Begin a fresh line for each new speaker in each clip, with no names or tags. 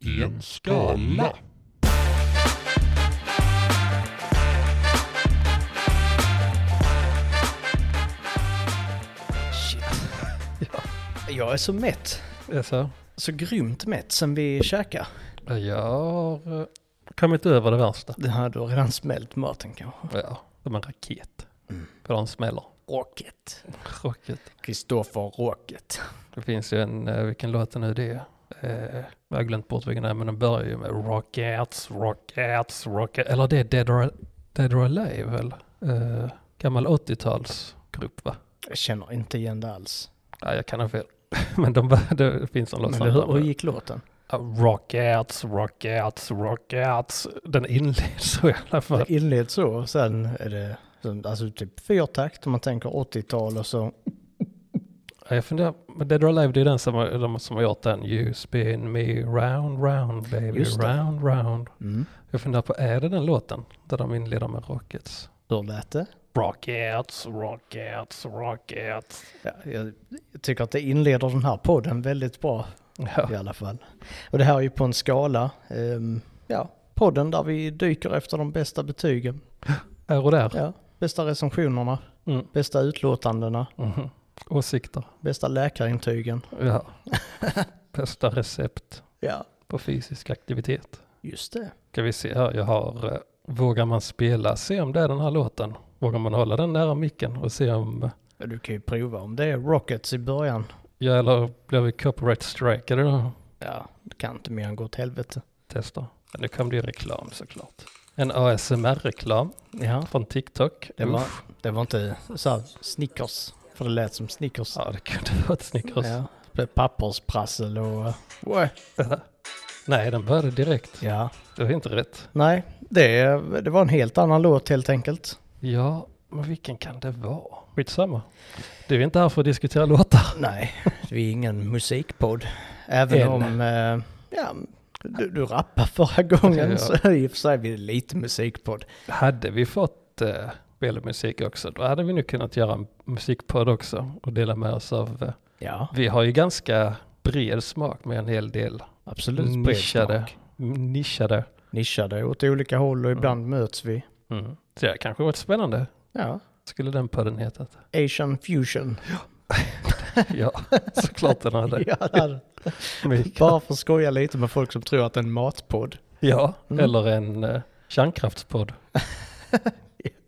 i en skala.
Jag är så mätt.
Alltså,
Så grymt mätt sen vi käkade.
jag har eh, kommit över det värsta.
Det här, du har redan smält maten kanske.
Ja, som en raket. För de smäller.
Mm. Rocket.
Rocket.
Kristoffer Rocket.
Det finns ju en, eh, vilken låt är nu det är? Eh, jag har glömt bort vilken det är, men den börjar ju med Rockets, Rockets, Rockets. Eller det är Dead or, Dead or Alive väl? Eh, gammal 80-talsgrupp va?
Jag känner inte igen det alls.
Nej, jag kan ha fel. men de, bör- det finns en låt
Men
som
det, hur,
börjar
hur
med-
gick låten?
Ja, Rockets, Rockets, Rockets. Den inleds så jävla för.
Det inleds så och sen är det som- alltså typ fyrtakt om man tänker 80-tal och så.
Ja, Jag funderar, men Dead or Alive det är den som, har- de som har gjort den. You spin me round, round baby,
Just det.
round, round.
Mm.
Jag funderar på, är det den låten där de inleder med Rockets?
Hur lät det?
Rockets, Rockets, Rockets.
Ja, jag, jag tycker att det inleder den här podden väldigt bra
Ja,
i alla fall. Och det här är ju på en skala. ehm, ja, podden där vi dyker efter de bästa betygen.
här och där.
Ja, bästa recensionerna,
Mm.
bästa utlåtandena,
Mhm. Åsikter.
bästa läkarintygen.
Ja. Bästa recept
Ja,
på fysisk aktivitet.
just det.
Ska vi se här, jag har eh, Vågar man spela, se om det är den här låten. Vågar man hålla den nära micken och se om,
Ja, Du kan ju prova om det är Rockets i början.
ja eller blir vi copyright strike då?
Ja, det kan inte mer än gå åt helvete.
Testa. Men nu kom det ju reklam såklart. En ASMR-reklam
Ja,
från TikTok.
det var,
Uff.
det var inte så här Snickers. För det lät som Snickers.
Ja, det kunde varit Snickers.
Ja, med pappersprassel och... Wow.
Nej, den började direkt.
Ja.
Det är inte rätt.
Nej, det, det var en helt annan låt helt enkelt.
Ja, men vilken kan det vara? Skitsamma. Du är inte här för att diskutera låtar.
Nej, vi är ingen musikpodd. Även
Än.
om... Eh, ja, du, du rappade förra gången
Ja.
så i och för sig är vi lite musikpodd.
Hade vi fått eh, spel och musik också, då hade vi nu kunnat göra en musikpodd också och dela med oss av. Eh,
Ja,
vi har ju ganska bred smak med en hel del
absolut. bred
nischade.
smak.
nischade.
Nischade åt olika håll och ibland möts vi.
Mm. Så det hade kanske varit spännande.
Ja,
Skulle den podden hetat?
Asian fusion.
Ja, såklart den hade.
Ja, det hade-
Mikael.
Bara för att skoja lite med folk som tror att det är en matpodd.
Ja,
Mm.
eller en eh, kärnkraftspodd.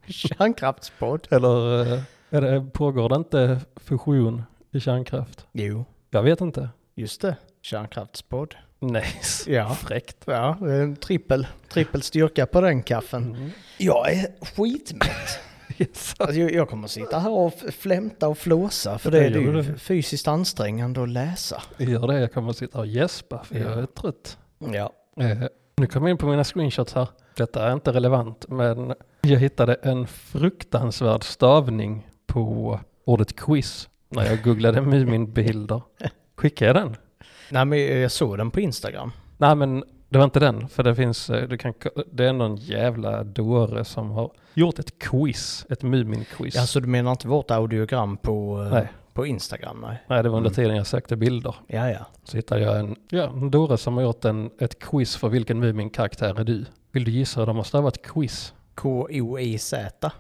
Kärnkraftspodd.
Eller eh, är det, pågår det inte fusion i kärnkraft?
Jo,
Jag vet inte.
just det. Kärnkraftspodd.
Nice.
Ja.
Fräckt.
Ja, det är en trippel, trippel styrka på den kaffen.
Mm.
Jag är skitmätt.
Yes.
Alltså, jag, jag kommer sitta här och f- flämta och flåsa för det är
Ja, gör
ju
det.
fysiskt ansträngande att läsa.
Gör det, jag kommer att sitta och gäspa för jag
Ja.
är trött.
Ja.
Eh, nu kommer jag in på mina screenshots här. Detta är inte relevant, men jag hittade en fruktansvärd stavning på ordet quiz när jag googlade Muminbilder. Skickade jag den?
Nej, men jag såg den på Instagram.
Nej, men det var inte den, för det finns, eh, du kan, ko- det är någon jävla dåre som har gjort ett quiz, ett Mumin-quiz.
Alltså du menar inte vårt audiogram på, eh,
Nej.
på Instagram? Nej.
Nej, det var under tiden jag sökte bilder.
Ja, ja.
Så hittade jag en, ja, en dåre som har gjort en, ett quiz för vilken Mumin-karaktär är du? Vill du gissa hur de har stavat quiz?
K-O-I-Z.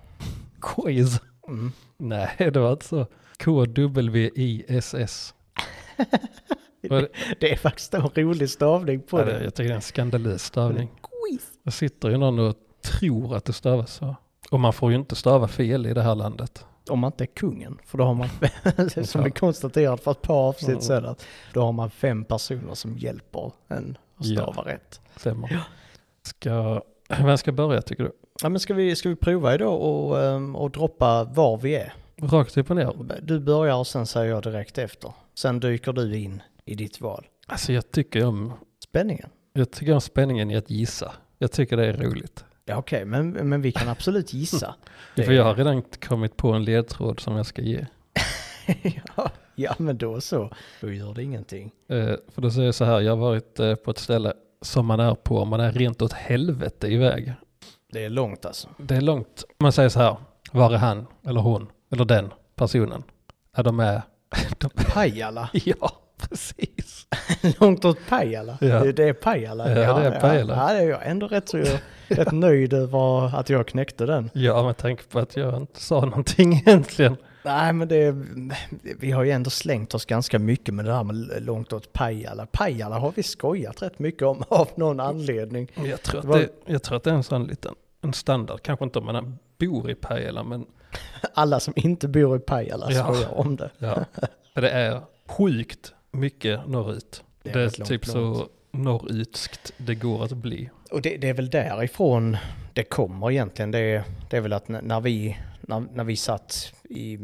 Quiz?
Mm.
Nej, det var inte så. K-W-I-S-S. Vad är det?
Det är faktiskt en rolig stavning på
Ja, det-
det.
Jag tycker det är en skandalös stavning.
Quiz.
Det sitter ju någon och tror att det stavas så. Och man får ju inte stava fel i det här landet.
Om man inte är kungen, för då har man, som vi konstaterade för ett par avsnitt sedan, att då har man fem personer som hjälper en att
Ja.
stava rätt.
Stämmer. Ska, vem ska börja tycker du?
Ja, men ska, vi, ska vi prova idag och, ehm, och droppa var vi är?
Rakt upp och ner.
Du börjar och sen säger jag direkt efter. Sen dyker du in i ditt val.
Alltså jag tycker om,
Spänningen?
jag tycker om spänningen i att gissa. Jag tycker det är roligt.
Ja, okej, men, men vi kan absolut gissa. Det-
För jag har redan kommit på en ledtråd som jag ska ge.
ja, ja, men då så. Då gör det ingenting.
Eh, för då säger jag så här, jag har varit eh, på ett ställe som man är på om man är rent åt helvete iväg.
Det är långt alltså.
Det är långt. Man säger så här, var är han eller hon eller den personen? Är de med?
Pajala.
Ja,
precis. Långt åt Pajala.
Ja.
Det, det är Pajala.
Ja, det är Pajala.
Ja, det är jag ändå rätt, så jag, rätt nöjd över att jag knäckte den.
Ja, med tanke på att jag inte sa någonting egentligen.
Nej, men det, vi har ju ändå slängt oss ganska mycket med det här med långt åt Pajala. Pajala har vi skojat rätt mycket om av någon anledning.
Men Jag tror att
Det var-
det, jag tror att det är en sån liten en standard, kanske inte om man bor i Pajala, men
Alla som inte bor i Pajala
Ja.
skojar om det.
ja. Men det är sjukt mycket norrut.
Det
Det
är
är,
rätt långt
typ så norrutskt det går att bli.
Och det, det är väl därifrån det kommer egentligen. Det, det är väl att n- när vi, när, när vi satt i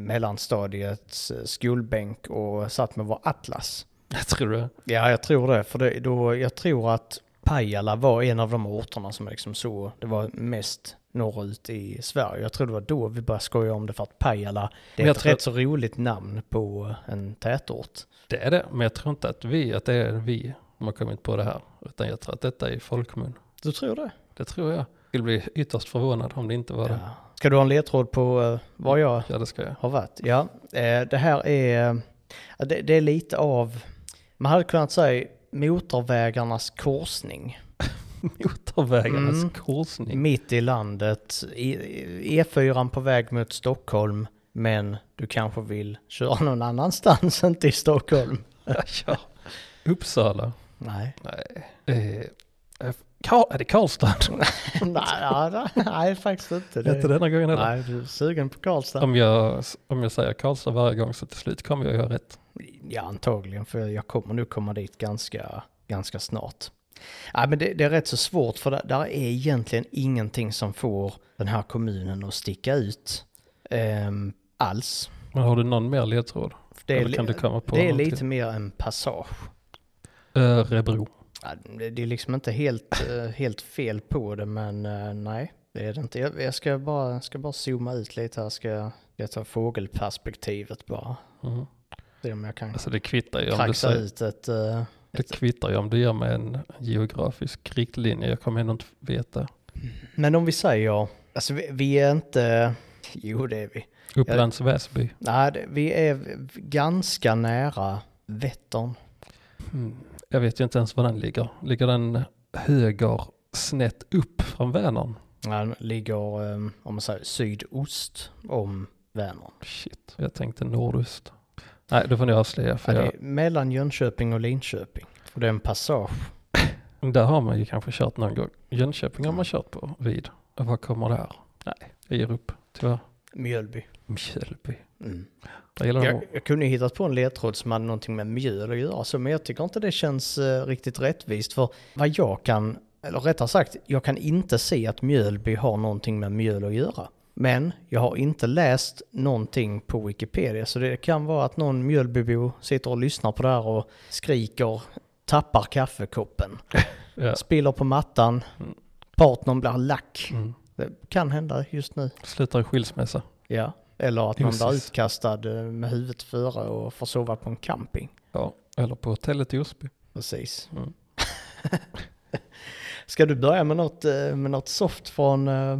mellanstadiets eh, skolbänk och satt med vår atlas.
Jag tror det.
Ja, jag tror det. För det, då, jag tror att Pajala var en av de orterna som liksom så, det var mest norrut i Sverige. Jag tror det var då vi började skoja om det för att Pajala, det
Men
är
jag
ett
tror-
rätt så roligt namn på en tätort.
Det är det, men jag tror inte att vi, att det är vi som har kommit på det här, utan jag tror att detta är i folkmun.
Du tror det?
Det tror jag. Jag skulle bli ytterst förvånad om det inte var
Ja.
det.
Ska du ha en ledtråd på eh, var jag
Ja, det ska jag.
har varit. Ja, eh, det här är, ja, det, det är lite av, man hade kunnat säga motorvägarnas korsning.
Motorvägarnas
Mm.
korsning.
Mitt i landet, i- i- E4 på väg mot Stockholm, men du kanske vill köra någon annanstans, inte i Stockholm.
Ja. Uppsala.
Nej,
Nej. Eh, eh, Kar- är det Karlstad?
nej, ja, nej, nej faktiskt inte.
Inte denna gången heller.
nej, du är sugen på Karlstad.
Om jag, om jag säger Karlstad varje gång så till slut kommer jag göra rätt.
Ja, antagligen, för jag kommer nog komma dit ganska, ganska snart. Ja, men det, det är rätt så svårt, för där, där är egentligen ingenting som får den här kommunen att sticka ut ehm, alls.
Men har du någon mer ledtråd?
Det är,
Eller kan
li-
du komma på
det är
någon till?
lite mer en passage.
Örebro.
Ja, det- det är liksom inte helt, eh, helt fel på det, men eh, nej, det är det inte. Jag, jag ska, bara, ska bara zooma ut lite här, ska jag ta fågelperspektivet bara.
Mm.
Se om jag kan
Alltså det kvittar ju om du
kraxa
säger,
ut ett... eh,
det kvittar ju om du ger mig en geografisk riktlinje. Jag kommer ändå inte veta.
Men om vi säger, alltså vi, vi är inte, jo det är vi.
Upplands Väsby.
Nej, det, vi är v- ganska nära Vättern.
Mm. Jag vet ju inte ens var den ligger. Ligger den höger snett upp från Vänern?
Den ligger, eh, om man säger sydost om Vänern.
Shit, jag tänkte nordost. Nej, då får ni avslöja.
Ja,
För
det är mellan Jönköping och Linköping. Och det är en passage.
jag, där har man ju kanske kört någon gång. Jönköping har man kört på vid. Och vad kommer det här? Nej, jag ger upp. Tyvärr.
Mjölby.
Mjölby.
Mm.
Jag gillar
Jag,
jag...
jag kunde ju hittat på en ledtråd som hade någonting med mjöl att göra, så, men jag tycker inte det känns eh, riktigt rättvist. För vad jag kan, eller rättare sagt, jag kan inte se att Mjölby har någonting med mjöl att göra. Men jag har inte läst någonting på Wikipedia, så det kan vara att någon Mjölbybo sitter och lyssnar på det här och skriker, tappar kaffekoppen,
Ja.
spiller på mattan,
Mm.
partnern blir lack.
Mm.
Det kan hända just nu.
Slutar i skilsmässa.
Ja, eller att man blir
Precis.
utkastad eh, med huvudet före och får sova på en camping.
Ja, eller på hotellet i Osby.
Precis.
Mm.
Ska du börja med något, eh, med något soft från, eh,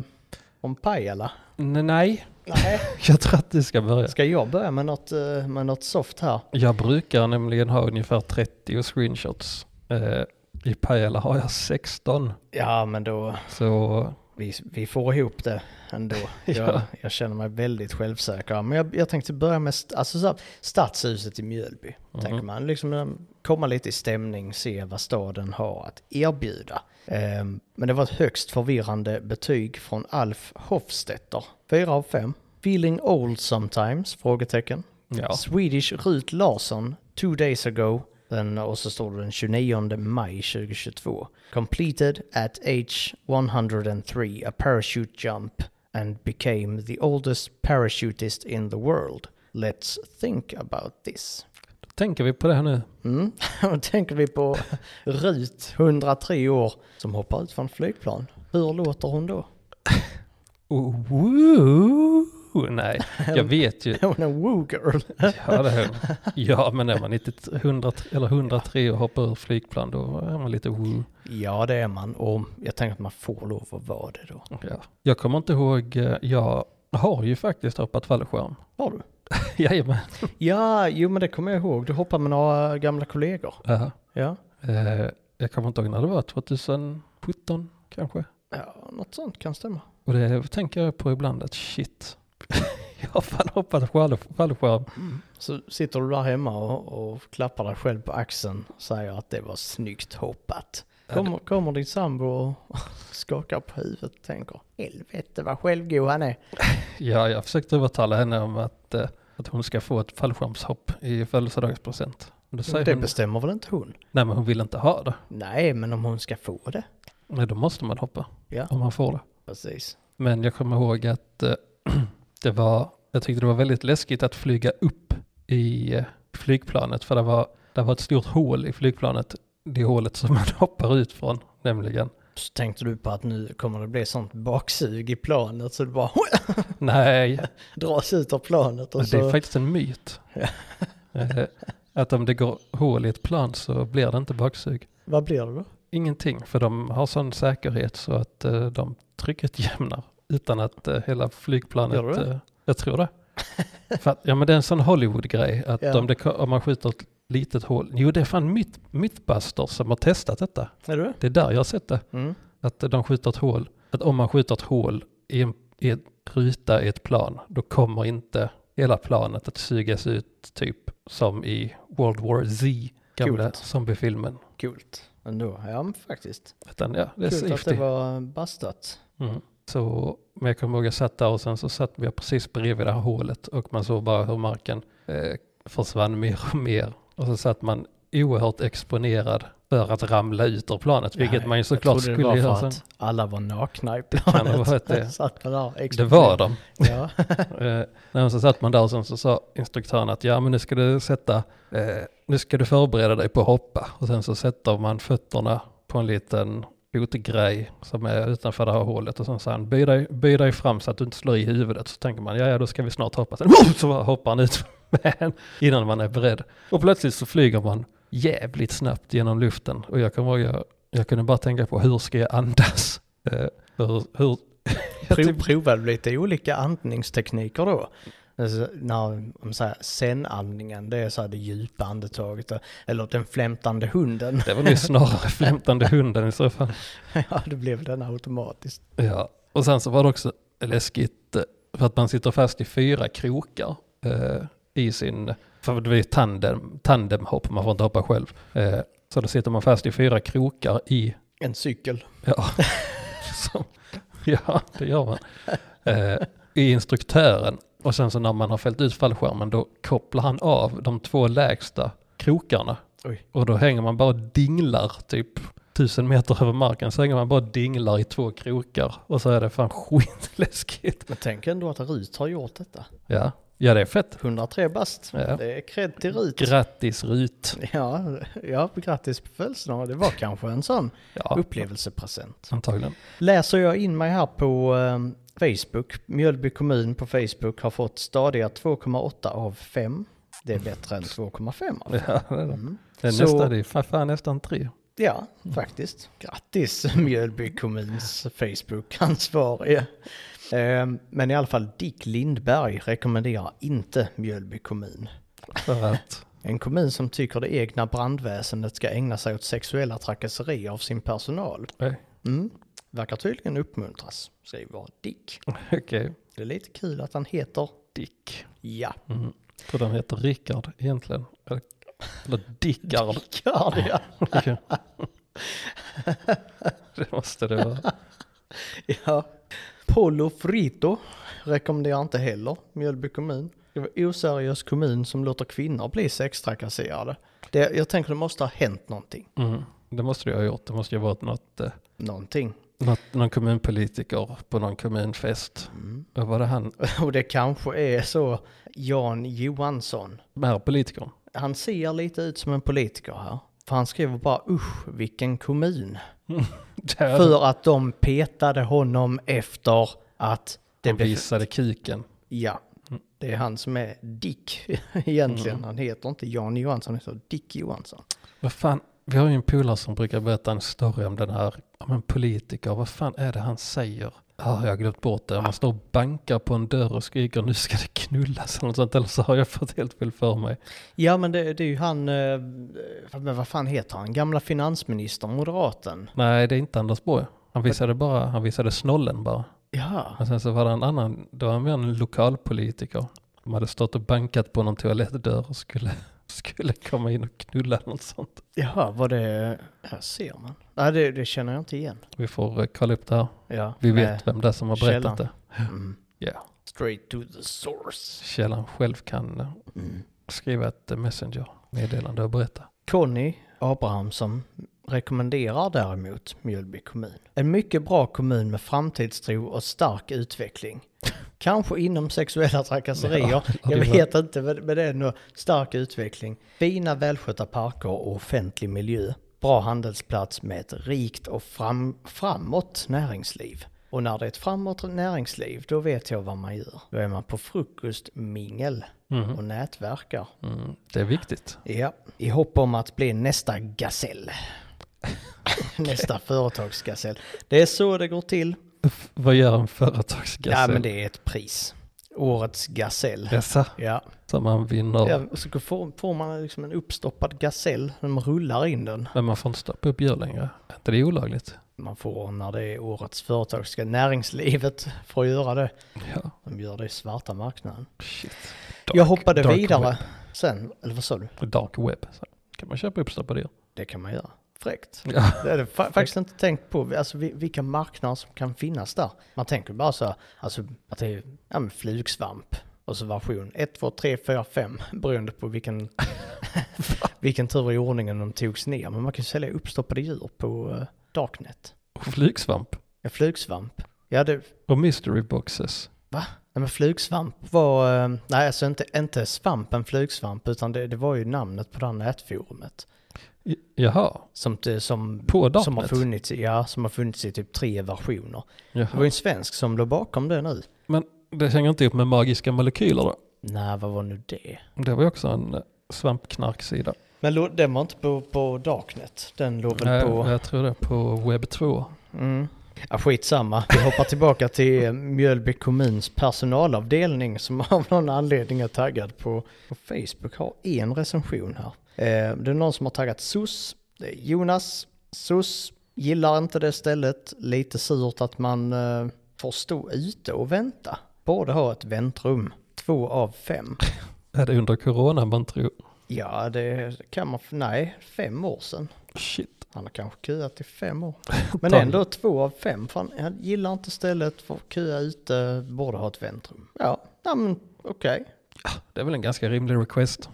från Pajala?
N- Nej,
Nej.
jag tror att du ska börja.
Ska jag börja med något, eh, med något soft här?
Jag brukar nämligen ha ungefär 30 screenshots. Eh, I Pajala har jag 16.
Ja, men då,
Så
vi, vi får ihop det ändå. Jag,
Ja.
jag känner mig väldigt självsäker. Men jag, jag tänkte börja med st- alltså så här, stadshuset i Mjölby.
Mhm. mm,
Tänker man liksom eh, komma lite i stämning, se vad staden har att erbjuda. Ehm, Men det var ett högst förvirrande betyg från Alf Hofstetter. 4 av 5. Feeling old sometimes? Frågetecken.
ja,
Swedish Rut Larsson, two days ago. Den, och så står det den 29 maj 2022. Completed at age 103 a parachute jump and became the oldest parachutist in the world. Let's think about this.
då tänker vi på det här nu.
Mm. Då tänker vi på Rut, 103 år, som hoppar ut från flygplan. Hur låter hon då?
Oh, woo. Nej, jag vet ju.
Hon är woo-girl.
Ja, det är hon. ja men är man 90, 100, eller 103 och hoppar ur flygplan då är man lite woo.
Ja, det är man. Och jag tänker att man får lov att vara det då.
Ja. Jag kommer inte ihåg, eh, jag har ju faktiskt hoppat fallskärm.
Har du?
Jajamän.
Ja, jo men det kommer jag ihåg. Du hoppade med några gamla kollegor.
Uh,
Ja,
Eh, jag kommer inte ihåg när det var, 2017 kanske.
ja något sånt kan stämma.
Och det tänker jag på ibland att shit, jag har fan hoppat fall- fallskärm.
Så sitter du där hemma och, och klappar dig själv på axeln och säger att det var snyggt hoppat. Kommer, kommer din sambo och skakar på huvudet och tänker helvete vad självgod han är.
Ja, jag försökte övertala henne om att, eh, att hon ska få ett fallskärmshopp i födelsedagspresent. Men Då säger
Det
hon,
bestämmer väl inte hon?
nej men hon vill inte ha det.
Nej, men om hon ska få det.
Nej, då måste man hoppa
Ja,
om man får det.
precis.
Men jag kommer ihåg att eh, det var, jag tyckte det var väldigt läskigt att flyga upp i eh, flygplanet för det var, det var ett stort hål i flygplanet. Det hålet som man hoppar ut från nämligen.
Så tänkte du på att nu kommer det bli sånt baksug i planet så du bara
Nej,
dras ut av planet och
det är
så...
faktiskt en myt. Eh, att om det går hål i ett plan så blir det inte baksug.
Vad blir det då?
Ingenting, för de har sån säkerhet så att eh, de trycket jämnar utan att eh, hela
Gör
flygplanet...
det?
eh, jag tror det. för att, ja, men det är en sån Hollywood-grej att
Ja.
om, det, ko- om man skjuter ett litet hål... Jo, det är fan myth, Mythbusters som har testat detta.
Är du det?
Det är där jag har sett det.
Mm.
Att eh, de skjuter ett hål. Att om man skjuter ett hål i en, i en ruta i ett plan, då kommer inte hela planet att sugas ut typ som i World War Z, gamla
Coolt.
zombiefilmen.
Coolt. Ändå, ja men faktiskt.
Utan ja, det är
Kul att
safety.
det var bastat.
Mm. Så, men jag kommer ihåg jag satt där och sen så satt jag precis bredvid det här hålet och man såg bara hur marken eh, försvann mer och mer. Och så satt man oerhört exponerad för att ramla ut ur planet, vilket
Nej,
man ju
jag
såklart
trodde
skulle
det var
göra
för
sen.
att alla var nakna i
ha
planet.
varit det.
Satt man där
Det var de.
Ja.
Eh, nej, men så satt man där och sen så sa instruktören att ja men nu ska du sätta, eh, nu ska du förbereda dig på att hoppa. Och sen så sätter man fötterna på en liten fotgrej som är utanför det här hålet och sen sa han by dig, by dig fram så att du inte slår i huvudet. Så tänker man ja ja då ska vi snart hoppa. Sen "Wow!" så bara hoppar han ut med en innan man är beredd. Och plötsligt så flyger man jävligt snabbt genom luften. Och jag kommer ihåg, jag, jag kunde bara tänka på hur ska jag andas? Eh, hur, hur, jag
Prov,
typ-
provade lite olika andningstekniker då. Alltså, när, om så här, zen-andningen, det är så här det djupa andetaget. Eller den flämtande hunden.
det var nog snarare flämtande hunden i så fall.
ja, det blev den automatiskt.
Ja, och sen så var det också läskigt eh, för att man sitter fast i fyra krokar eh, i sin, för det är ju tandem, tandemhopp, man får inte hoppa själv. Eh, så då sitter man fast i fyra krokar i,
En cykel.
ja, som, ja det gör man, eh, i instruktören. Och sen så när man har fällt ut fallskärmen då kopplar han av de två lägsta krokarna.
Oj.
Och då hänger man bara och dinglar typ tusen meter över marken. Så hänger man bara och dinglar i två krokar. Och så är det fan skitläskigt.
Men tänk ändå att Rut har gjort detta.
Ja, ja det är fett.
103 bast.
Ja.
Det är cred till Rut.
Grattis Rut.
ja, ja, grattis på födelsedagen. Det var kanske en sån
Ja,
upplevelsepresent.
antagligen.
läser jag in mig här på eh, Facebook. Mjölby kommun på Facebook har fått stadiga 2,8 av 5. Det är bättre än 2,5 av.
Ja, det är, det.
Mm.
Det är
Så-
nästan, det är fan, fan nästan tre.
Ja, faktiskt. Mm. Grattis Mjölby kommuns Facebook-ansvarige. Eh, Men i alla fall Dick Lindberg rekommenderar inte Mjölby kommun.
För att,
En kommun som tycker det egna brandväsendet ska ägna sig åt sexuella trakasserier av sin personal.
nej,
Mm. Verkar tydligen uppmuntras, skriver Dick.
okej.
Det är lite kul att han heter
Dick.
Ja.
Mm. Jag tror den heter Rickard egentligen. Eller- Eller Dickard.
Rickard, ja.
Okej. det måste det vara.
ja. Polo Frito rekommenderar inte heller Mjölby kommun. Det var oseriös kommun som låter kvinnor bli sextrakasserade. Det, jag tänker det måste ha hänt någonting.
Mm. Det måste jag ha gjort. Det måste ju ha varit något eh,
Någonting.
Något, någon kommunpolitiker på någon kommunfest. Vad var det han,
Och det kanske är så Jan Johansson.
den här politikern?
Han ser lite ut som en politiker här. För han skriver bara usch vilken kommun.
Där
För att de petade honom efter att det
han
blev
visade kuken.
Ja, det är han som är Dick egentligen. Han heter inte Jan Johansson, han heter Dick Johansson.
Vad fan, vi har ju en polare som brukar berätta en story om den här, om en politiker. Vad fan är det han säger? Ah, jag har glömt bort det. Man står och bankar på en dörr och skriker nu ska det knullas eller något sånt. Eller så har jag fått helt fel för mig.
Ja men det, det är ju han, eh, men vad fan heter han, gamla finansministern, moderaten.
Nej, det är inte Anders Borg. Han visade bara, han visade snollen bara.
Ja.
Men sen så var det en annan, det var mer en lokalpolitiker. De hade stått och bankat på någon toalettdörr och skulle, skulle komma in och knulla eller något sånt.
Jaha, vad det... Här ser man. Nej, det, det känner jag inte igen.
Vi får eh, kolla upp det här.
Ja.
Vi
Nej.
vet vem det är som har berättat
källan.
det.
Mm.
Ja.
Straight to the source.
Källan själv kan eh,
Mm.
skriva ett eh, messenger-meddelande och berätta.
Conny Abrahamsson rekommenderar däremot Mjölby kommun. En mycket bra kommun med framtidstro och stark utveckling. Kanske inom sexuella
Ja,
trakasserier.
det
Jag
var-
vet inte, men men det är ändå stark utveckling. Fina välskötta parker och offentlig miljö. Bra handelsplats med ett rikt och fram, framåt näringsliv. Och när det är ett framåt näringsliv, då vet jag vad man gör. Då är man på frukostmingel och nätverkar.
Mm, det är viktigt.
Ja, i hopp om att bli nästa gasell. nästa företagsgasell. Det är så det går till.
F- Vad gör en
Ja, men
företagsgasell?
det är ett pris. Årets gasell.
Dessa
Ja,
som man vinner.
ja och så får, får man liksom en uppstoppad gasell när man rullar in den.
Men man får inte stoppa upp djur längre. Är inte det är olagligt?
Man får när det är årets företags... Näringslivet får göra det.
Ja.
De gör det i svarta marknaden.
Shit.
Jag hoppade
dark
vidare sen, eller vad sa du?
Web. Dark web. Så kan man köpa uppstoppade djur?
Det kan man göra. Fräckt.
Ja.
Det hade jag fa- faktiskt inte tänkt på, alltså vi- vilka marknader som kan finnas där. Man tänker bara så här, alltså att det är ja, men flugsvamp och så version 1, 2, 3, 4, 5 beroende på vilken, vilken tur i ordningen de togs ner. Men man kan ju sälja uppstoppade djur på eh, Darknet.
Och flygsvamp.
Ja, flugsvamp. Ja, det,
Och mystery boxes.
va? Nej, men flugsvamp var, eh, nej alltså inte, inte svampen flugsvamp utan det, det var ju namnet på det här nätforumet.
J- Jaha.
Som, som,
På Darknet?
som, har funnits, i- ja, som har funnits i typ tre versioner. Det var ju
Jaha.
en svensk som låg bakom det nu.
Men det hänger inte ihop med magiska molekyler då?
Nej, vad var nu det?
Det var ju också en eh, svampknarksida.
Men lå- den var inte på, på Darknet. Den låg väl
Nej,
på...
Eh, jag tror det. På webb 2.
Mm. Ja, skitsamma. Vi hoppar tillbaka till eh, Mjölby kommuns personalavdelning som av någon anledning är taggad på, på Facebook. Har en recension här. Eh, det är någon som har taggat SOS. Det är Jonas. SOS. Gillar inte det stället. Lite surt att man eh, får stå ute och vänta. Borde ha ett väntrum. Två av fem.
Är det under corona man tror?
Ja, det kan man... Nej, fem år sedan.
Shit.
Han har kanske köat i fem år. Men
Tar-
ändå två av fem. Fan, han gillar inte stället, får köa ute, borde ha ett väntrum. Ja, ja men okej.
Det är väl en ganska rimlig request.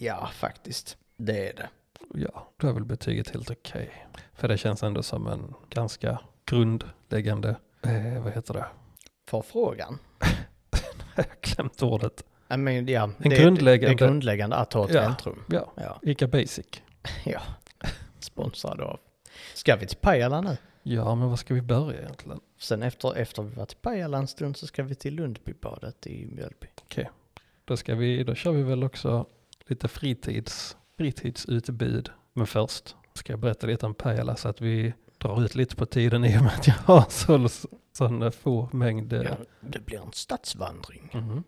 Ja, faktiskt. Det är det.
Ja, då är väl betyget helt okej. För det känns ändå som en ganska grundläggande, eh, vad heter det?
Förfrågan.
Jag har glömt ordet.
I mean, ja, det,
grundläggande-
det är grundläggande att ha ett
Ja.
väntrum.
Ja,
Ja,
Ica Basic.
ja. Sponsrad av. Ska vi till Pajala nu?
Ja, men var ska vi börja egentligen?
Sen efter, efter vi varit i Pajala en stund så ska vi till Lundbybadet i Mjölby.
Då, ska vi, då kör vi väl också lite fritids, fritidsutbud. Men först ska jag berätta lite om Pajala så att vi drar ut lite på tiden i och med att jag har så, sån få mängd. eh,
Ja, det blir en stadsvandring.
mhm.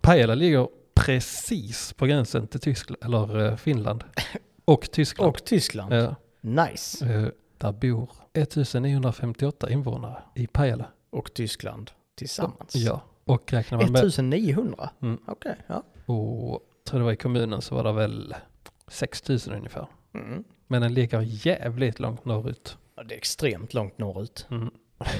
Pajala ligger precis på gränsen till Tyskland, eller eh, Finland. Och Tyskland.
Och Tyskland.
Ja,
Nice.
eh, där bor 1958 invånare i Pajala.
Och Tyskland tillsammans.
Ja, och räknar man med
1900?
Mm.
Okej, ja.
och tror det var i kommunen så var det väl 6000 ungefär.
Mm.
Men den ligger jävligt långt norrut.
ja. Det är extremt långt norrut.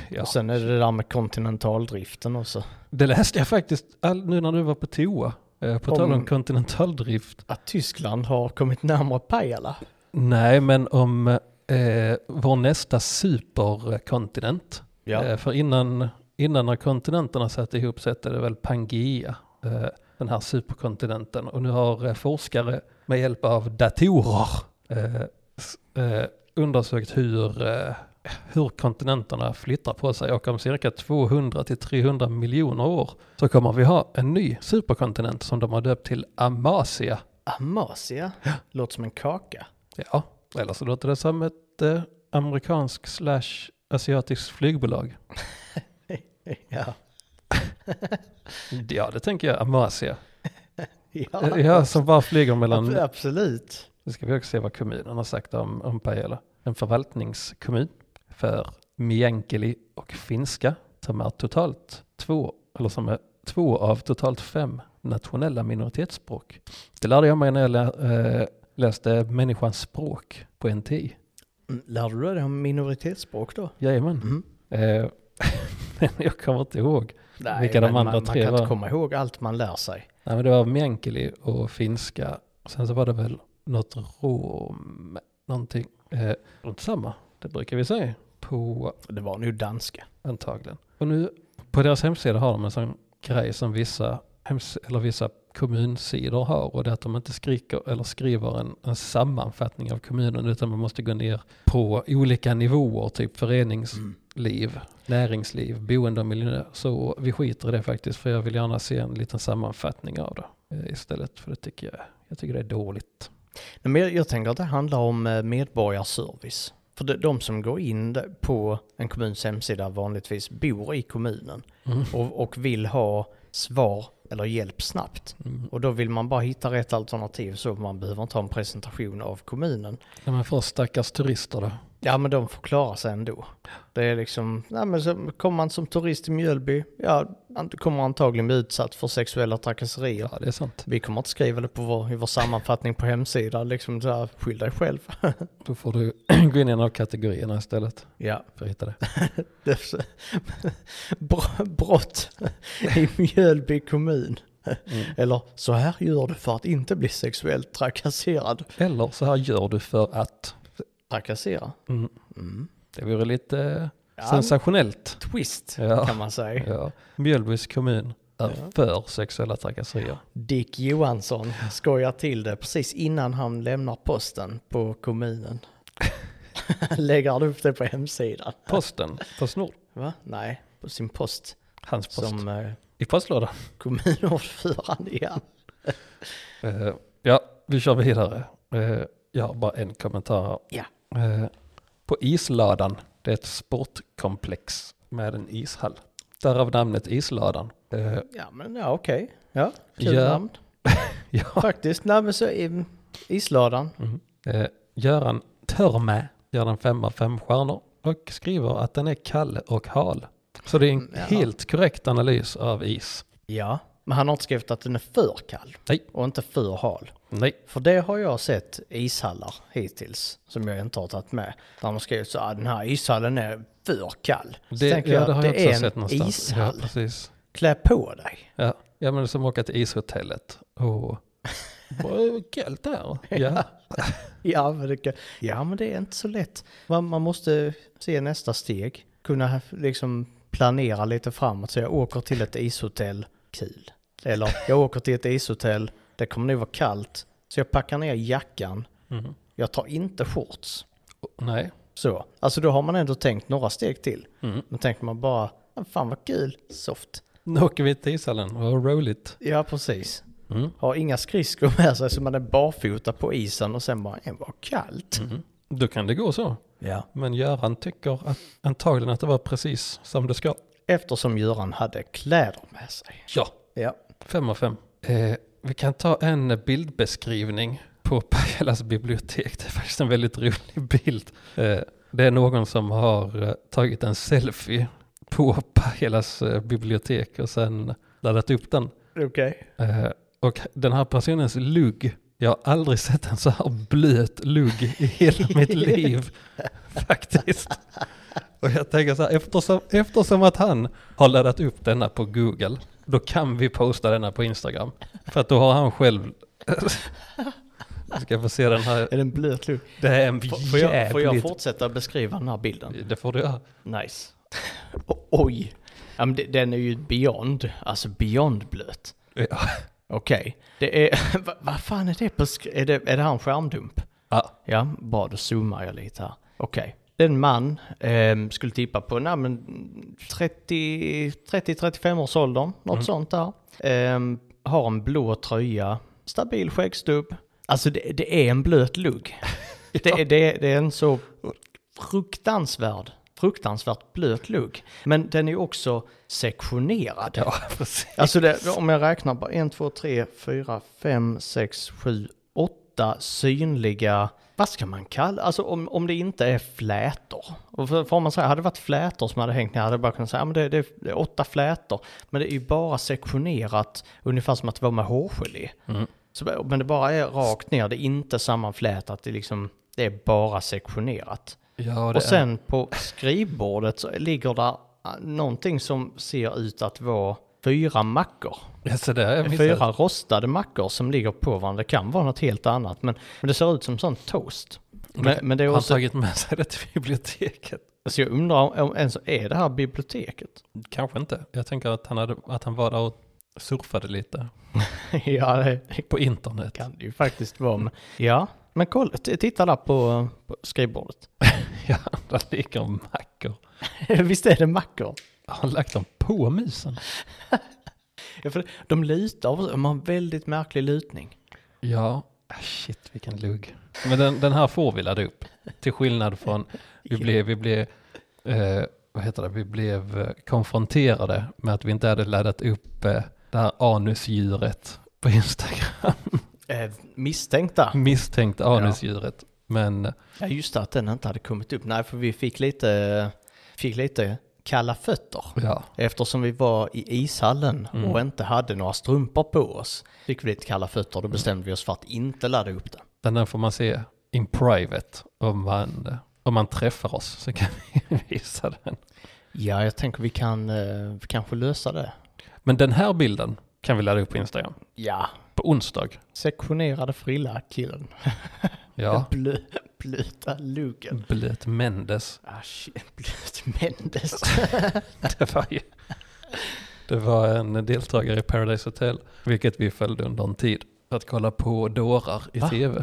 Ja.
Och sen är det det där med kontinentaldriften också.
Det läste jag faktiskt all, nu när du var på toa. Eh, på
Om-
tal om kontinentaldrift.
Att Tyskland har kommit närmare Pajala.
Nej, men om eh, vår nästa superkontinent. Eh, för innan, innan när kontinenterna satt ihop så hette det väl Pangea. Eh, den här superkontinenten. Och nu har eh, forskare med hjälp av datorer eh, s- eh, undersökt hur, eh, hur kontinenterna flyttar på sig och om cirka 200 till 300 miljoner år så kommer vi ha en ny superkontinent som de har döpt till Amasia.
Amasia. Låter som en kaka.
Ja, eller så låter det som ett eh, amerikansk slash asiatiskt flygbolag.
Ja.
Ja, det tänker jag. Amasia.
ja.
Ja, som bara flyger mellan...
Ab- Absolut.
Nu ska vi också se vad kommunen har sagt om, om Pajala. En förvaltningskommun för meänkieli och finska som är totalt två, eller som är två av totalt fem nationella minoritetsspråk. Det lärde jag mig när jag lä, eh, läste Människans språk på NTI.
Mm, Lärde du dig om minoritetsspråk då?
Jajamän.
Mm.
Eh, men jag kommer inte ihåg.
Nej,
Vilka de
men
andra
man, man
tre
kan inte
var?
komma ihåg allt man lär sig.
Nej, men det var meänkieli och finska. Sen så var det väl något rom, någonting. Eh, runt samma, det brukar vi säga. På
Det var nog danska.
antagligen. Och nu på deras hemsida har de en sån grej som vissa, hems- eller vissa kommunsidor har och det är att de inte skriker eller skriver en, en sammanfattning av kommunen utan man måste gå ner på olika nivåer, typ föreningsliv,
Mm.
näringsliv, boende och miljö. Så vi skiter i det faktiskt för jag vill gärna se en liten sammanfattning av det eh, istället för det tycker jag, jag tycker det är dåligt.
Nej, Men jag, jag tänker att det handlar om eh, medborgarservice. För de, de som går in där på en kommuns hemsida vanligtvis bor i kommunen
Mm.
och, och vill ha svar eller hjälp snabbt.
Mm.
Och då vill man bara hitta rätt alternativ så man behöver inte ha en presentation av kommunen.
Nej, men först stackars turister då.
Ja men de får klara sig ändå. Det är liksom, nej men så kommer man som turist till Mjölby, ja man kommer antagligen bli utsatt för sexuella trakasserier.
Ja, det är sant.
Vi kommer inte skriva det på vår, i vår sammanfattning på hemsidan, liksom så här, skyll dig själv.
Då får du gå in i en av kategorierna istället
Ja,
för att hitta det.
det är så- Br- brott i Mjölby kommun. Eller så här gör du för att inte bli sexuellt trakasserad.
Eller så här gör du för att.
Trakassera?
Mm.
Mm.
Det vore lite eh,
Ja,
sensationellt.
twist
Ja.
kan man säga.
Ja. Mjölbys kommun är
Ja.
för sexuella trakasserier.
Dick Johansson skojar till det precis innan han lämnar posten på kommunen. Lägger han upp det på hemsidan?
Posten, Postnord,
Va? Nej, på sin post
hans post,
som eh,
i postlådan.
kommunordförande. Ja.
Eh, ja, vi kör vidare. Eh, jag har bara en kommentar. här.
Ja.
Eh, på Isladan, det är ett sportkomplex med en ishall. Därav namnet Isladan. Eh,
ja, men ja, okej. Ja, kul
Ja.
namn.
ja.
Faktiskt, nej men så i isladan.
Mm. Eh, Göran Törmä gör den fem av fem stjärnor och skriver att den är kall och hal. Så det är en
Mm, ja.
helt korrekt analys av is.
Ja. Men han har inte skrivit att den är för kall.
Nej.
Och inte för hal.
Nej,
För det har jag sett ishallar hittills som jag inte har tagit med. Där de skrivit så att den här ishallen är för kall. Så
det,
tänker
ja,
jag,
det har jag
det
också
är en
sett någonstans. Ja,
ishall.
precis.
Klä på dig.
Ja. ja, men som åka till ishotellet och... Vad kallt där. Ja.
Ja men, det, kan- ja, men det är inte så lätt. Man, man måste se nästa steg. Kunna liksom planera lite framåt. Så jag åker till ett ishotell. Kul. Eller jag åker till ett ishotell. Det kommer nog vara kallt. Så jag packar ner jackan.
Mm.
Jag tar inte shorts.
Och- Nej.
Så. Alltså då har man ändå tänkt några steg till.
Mm.
Men tänker man bara, "Ah, fan vad kul, soft.
Nu åker vi till ishallen, vad roligt.
Ja precis.
Mm.
Har inga skridskor med sig så man är barfota på isen och sen bara, "Eh, vad kallt.
Mm. Då kan det gå så.
Ja.
Men Göran tycker att, antagligen att det var precis som det ska.
Eftersom Göran hade kläder med sig.
Ja,
Ja.
Fem av fem. Eh, vi kan ta en bildbeskrivning på Pajalas bibliotek. Det är faktiskt en väldigt rolig bild. Eh, det är någon som har eh, tagit en selfie på Pajalas eh, bibliotek och sen laddat upp den.
Okej.
Eh, och den här personens lugg, jag har aldrig sett en så här blöt lugg i hela mitt liv faktiskt. Och jag tänker så här, eftersom, eftersom att han har laddat upp denna på Google, då kan vi posta denna på Instagram. För att då har han själv... Jag ska få se den här.
Är den blöt lugg?
Det här är en
Får, får, jag, får jag
jävligt...
fortsätta beskriva den här bilden?
Det får du göra.
Nice. O- oj. Ja, men det- den är ju beyond, alltså beyond blöt.
Ja.
Okej. Det är, vad vad fan är det på sk- är det, är det här en skärmdump?
Ja.
Ja, bra då zoomar jag lite här. Okej. Det är en man, ehm, skulle tippa på nej, men 30 30-35 års åldern, något sånt där. Ehm, har en blå tröja, stabil skäggstubb. Alltså det, det är en blöt lugg. Det, är- det, är- det är en så fruktansvärd fruktansvärt blöt lugg. Men den är ju också sektionerad.
Ja, precis.
Alltså det, om jag räknar bara 1, 2, 3, 4, 5, 6, 7, 8 synliga, vad ska man kalla, alltså om, om det inte är flätor. Och för, för om man säger, hade det varit flätor som hade hängt ner hade jag bara kunnat säga, ja men det, det, det är åtta flätor. Men det är ju bara sektionerat, ungefär som att det var med hårgelé.
Mm.
Så, men det bara är rakt ner, det är inte sammanflätat, det är liksom, det är bara sektionerat.
Ja, det
Och sen på skrivbordet så ligger där ah, någonting som ser ut att vara fyra mackor.
är... Ja, så där, jag missade.
Fyra rostade mackor som ligger på varandra. Det kan vara något helt annat, men, men det ser ut som sån toast. Men, men det är
Har han
också,
tagit med sig det till biblioteket?
så jag undrar om, om ens är det här biblioteket?
Kanske inte. Jag tänker att han, hade, att han var där och surfade lite
ja, det
på internet.
kan det ju faktiskt vara. Men, ja, men kolla, t- titta där på, på skrivbordet.
Ja, där ligger mackor.
Visst är det mackor?
Har han lagt dem på musen?
Ja, för de lutar, de har en väldigt märklig lutning.
Ja, Ah, shit vilken lugg. Men den, den här får vi ladda upp. Till skillnad från, vi blev, vi blev, eh, vad heter det, vi blev eh, konfronterade med att vi inte hade laddat upp eh, det här anusdjuret på Instagram.
Eh, misstänkta.
Misstänkt anusdjuret. Men
Ja, just det, att den inte hade kommit upp. Nej, för vi fick lite, fick lite kalla fötter.
ja,
Eftersom vi var i ishallen
Mm.
och inte hade några strumpor på oss fick vi lite kalla fötter. Då bestämde vi oss för att inte ladda upp den.
men den får man se in private om man, eh, om man träffar oss så kan vi visa den.
Ja, jag tänker vi kan eh, vi kanske lösa det.
Men den här bilden kan vi ladda upp på Instagram
Ja,
på onsdag.
sektionerade frilla killen.
Ja,
Blö, blöta luggen.
blöt Mendes.
Ah, shit, blöt Mendes.
Det var, ju, det var en deltagare i Paradise Hotel, vilket vi följde under en tid, för att kolla på dårar i
Va?
tv.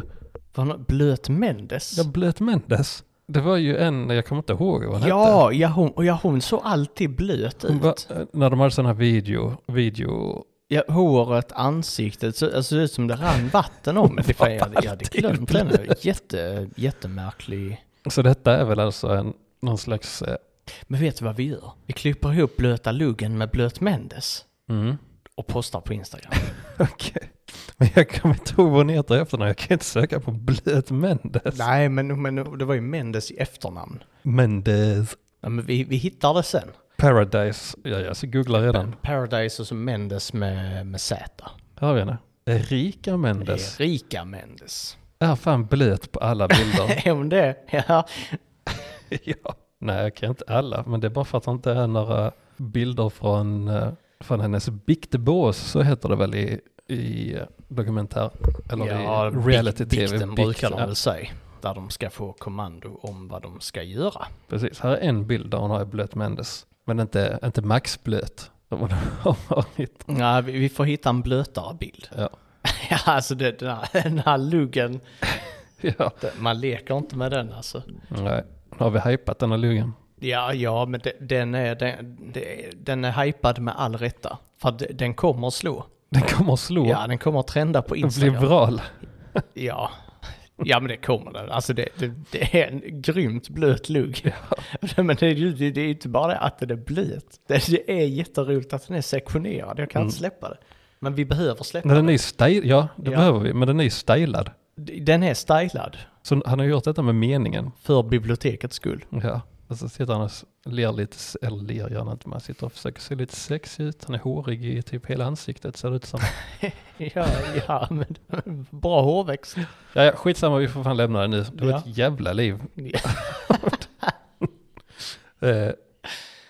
Var det någon- blöt Mendes?
Ja, Blöt Mendes. Det var ju en, jag kommer inte ihåg vad hon hette.
Ja, ja, hon, och ja, hon såg alltid blöt
Hon
ut.
var- när de hade sådana här video, video,
Ja, håret, ansiktet, så, alltså det ser ut som det rann vatten om det. Fan, jag, hade- jag hade
alltid
glömt den. Jätte, jättemärklig.
så detta är väl alltså en, någon slags, eh,
Men vet du vad vi gör? Vi klipper ihop blöta luggen med blöt Mendes
mm,
och postar på Instagram.
okej. Men jag kommer inte ihåg vad hon heter i efternamn, jag kan inte söka på Blöt Mendes.
Nej, men, men det var ju Mendes i efternamn.
Mendes.
Ja, men vi, vi hittar det sen.
Paradise, ja jag så googlar redan.
Paradise och så Mendes med, med Z.
Här har vi henne. Erika Mendes.
Erika Mendes.
Är fan blöt på alla bilder.
Är hon det? Ja.
ja. Nej, jag kan inte alla, men det är bara för att det inte är några bilder från, eh, från hennes biktbås, så heter det väl i, i eh, dokumentär, eller i
bik-
reality-tv.
Bikten
Bikt,
brukar de
ja,
väl säga. Där de ska få kommando om vad de ska göra.
Precis, här är en bild där hon har blöt Mendes, men inte, inte maxblöt. som hon har varit.
Ja, vi, vi får hitta en blötare bild.
Ja.
Ja, alltså det, den, här, den här luggen,
ja,
det- man leker inte med den alltså.
nej. Nu har vi hypat den här luggen.
Ja, ja, men de- den är, den, de- den är hypad med all rätta. För att den kommer att slå.
Den kommer att slå.
Ja, den kommer att trenda på
den blir
Instagram.
viral.
Ja. ja, men det kommer den. Alltså det, det, det är en grymt blöt lugg. Men det, är ju- det, det är ju inte bara det att den är blöt. Det, det är jätteroligt att den är sektionerad. Jag kan inte släppa det. Men vi behöver släppa
Nej, Mm. den är
den.
ju stylad. Ja, det
Ja.
behöver vi, men den är ju stylad.
Den är stylad
Så han har gjort detta med meningen.
för bibliotekets skull.
Ja, och så sitter han och ler lite, eller ler gör han inte, men han sitter och försöker se lite sexig ut. Han är hårig i typ hela ansiktet ser det ut som.
Ja, ja, men bra hårväxt.
Ja, ja, skitsamma, vi får fan lämna det nu. Det var
Ja.
ett jävla liv.
Ja.
Eh,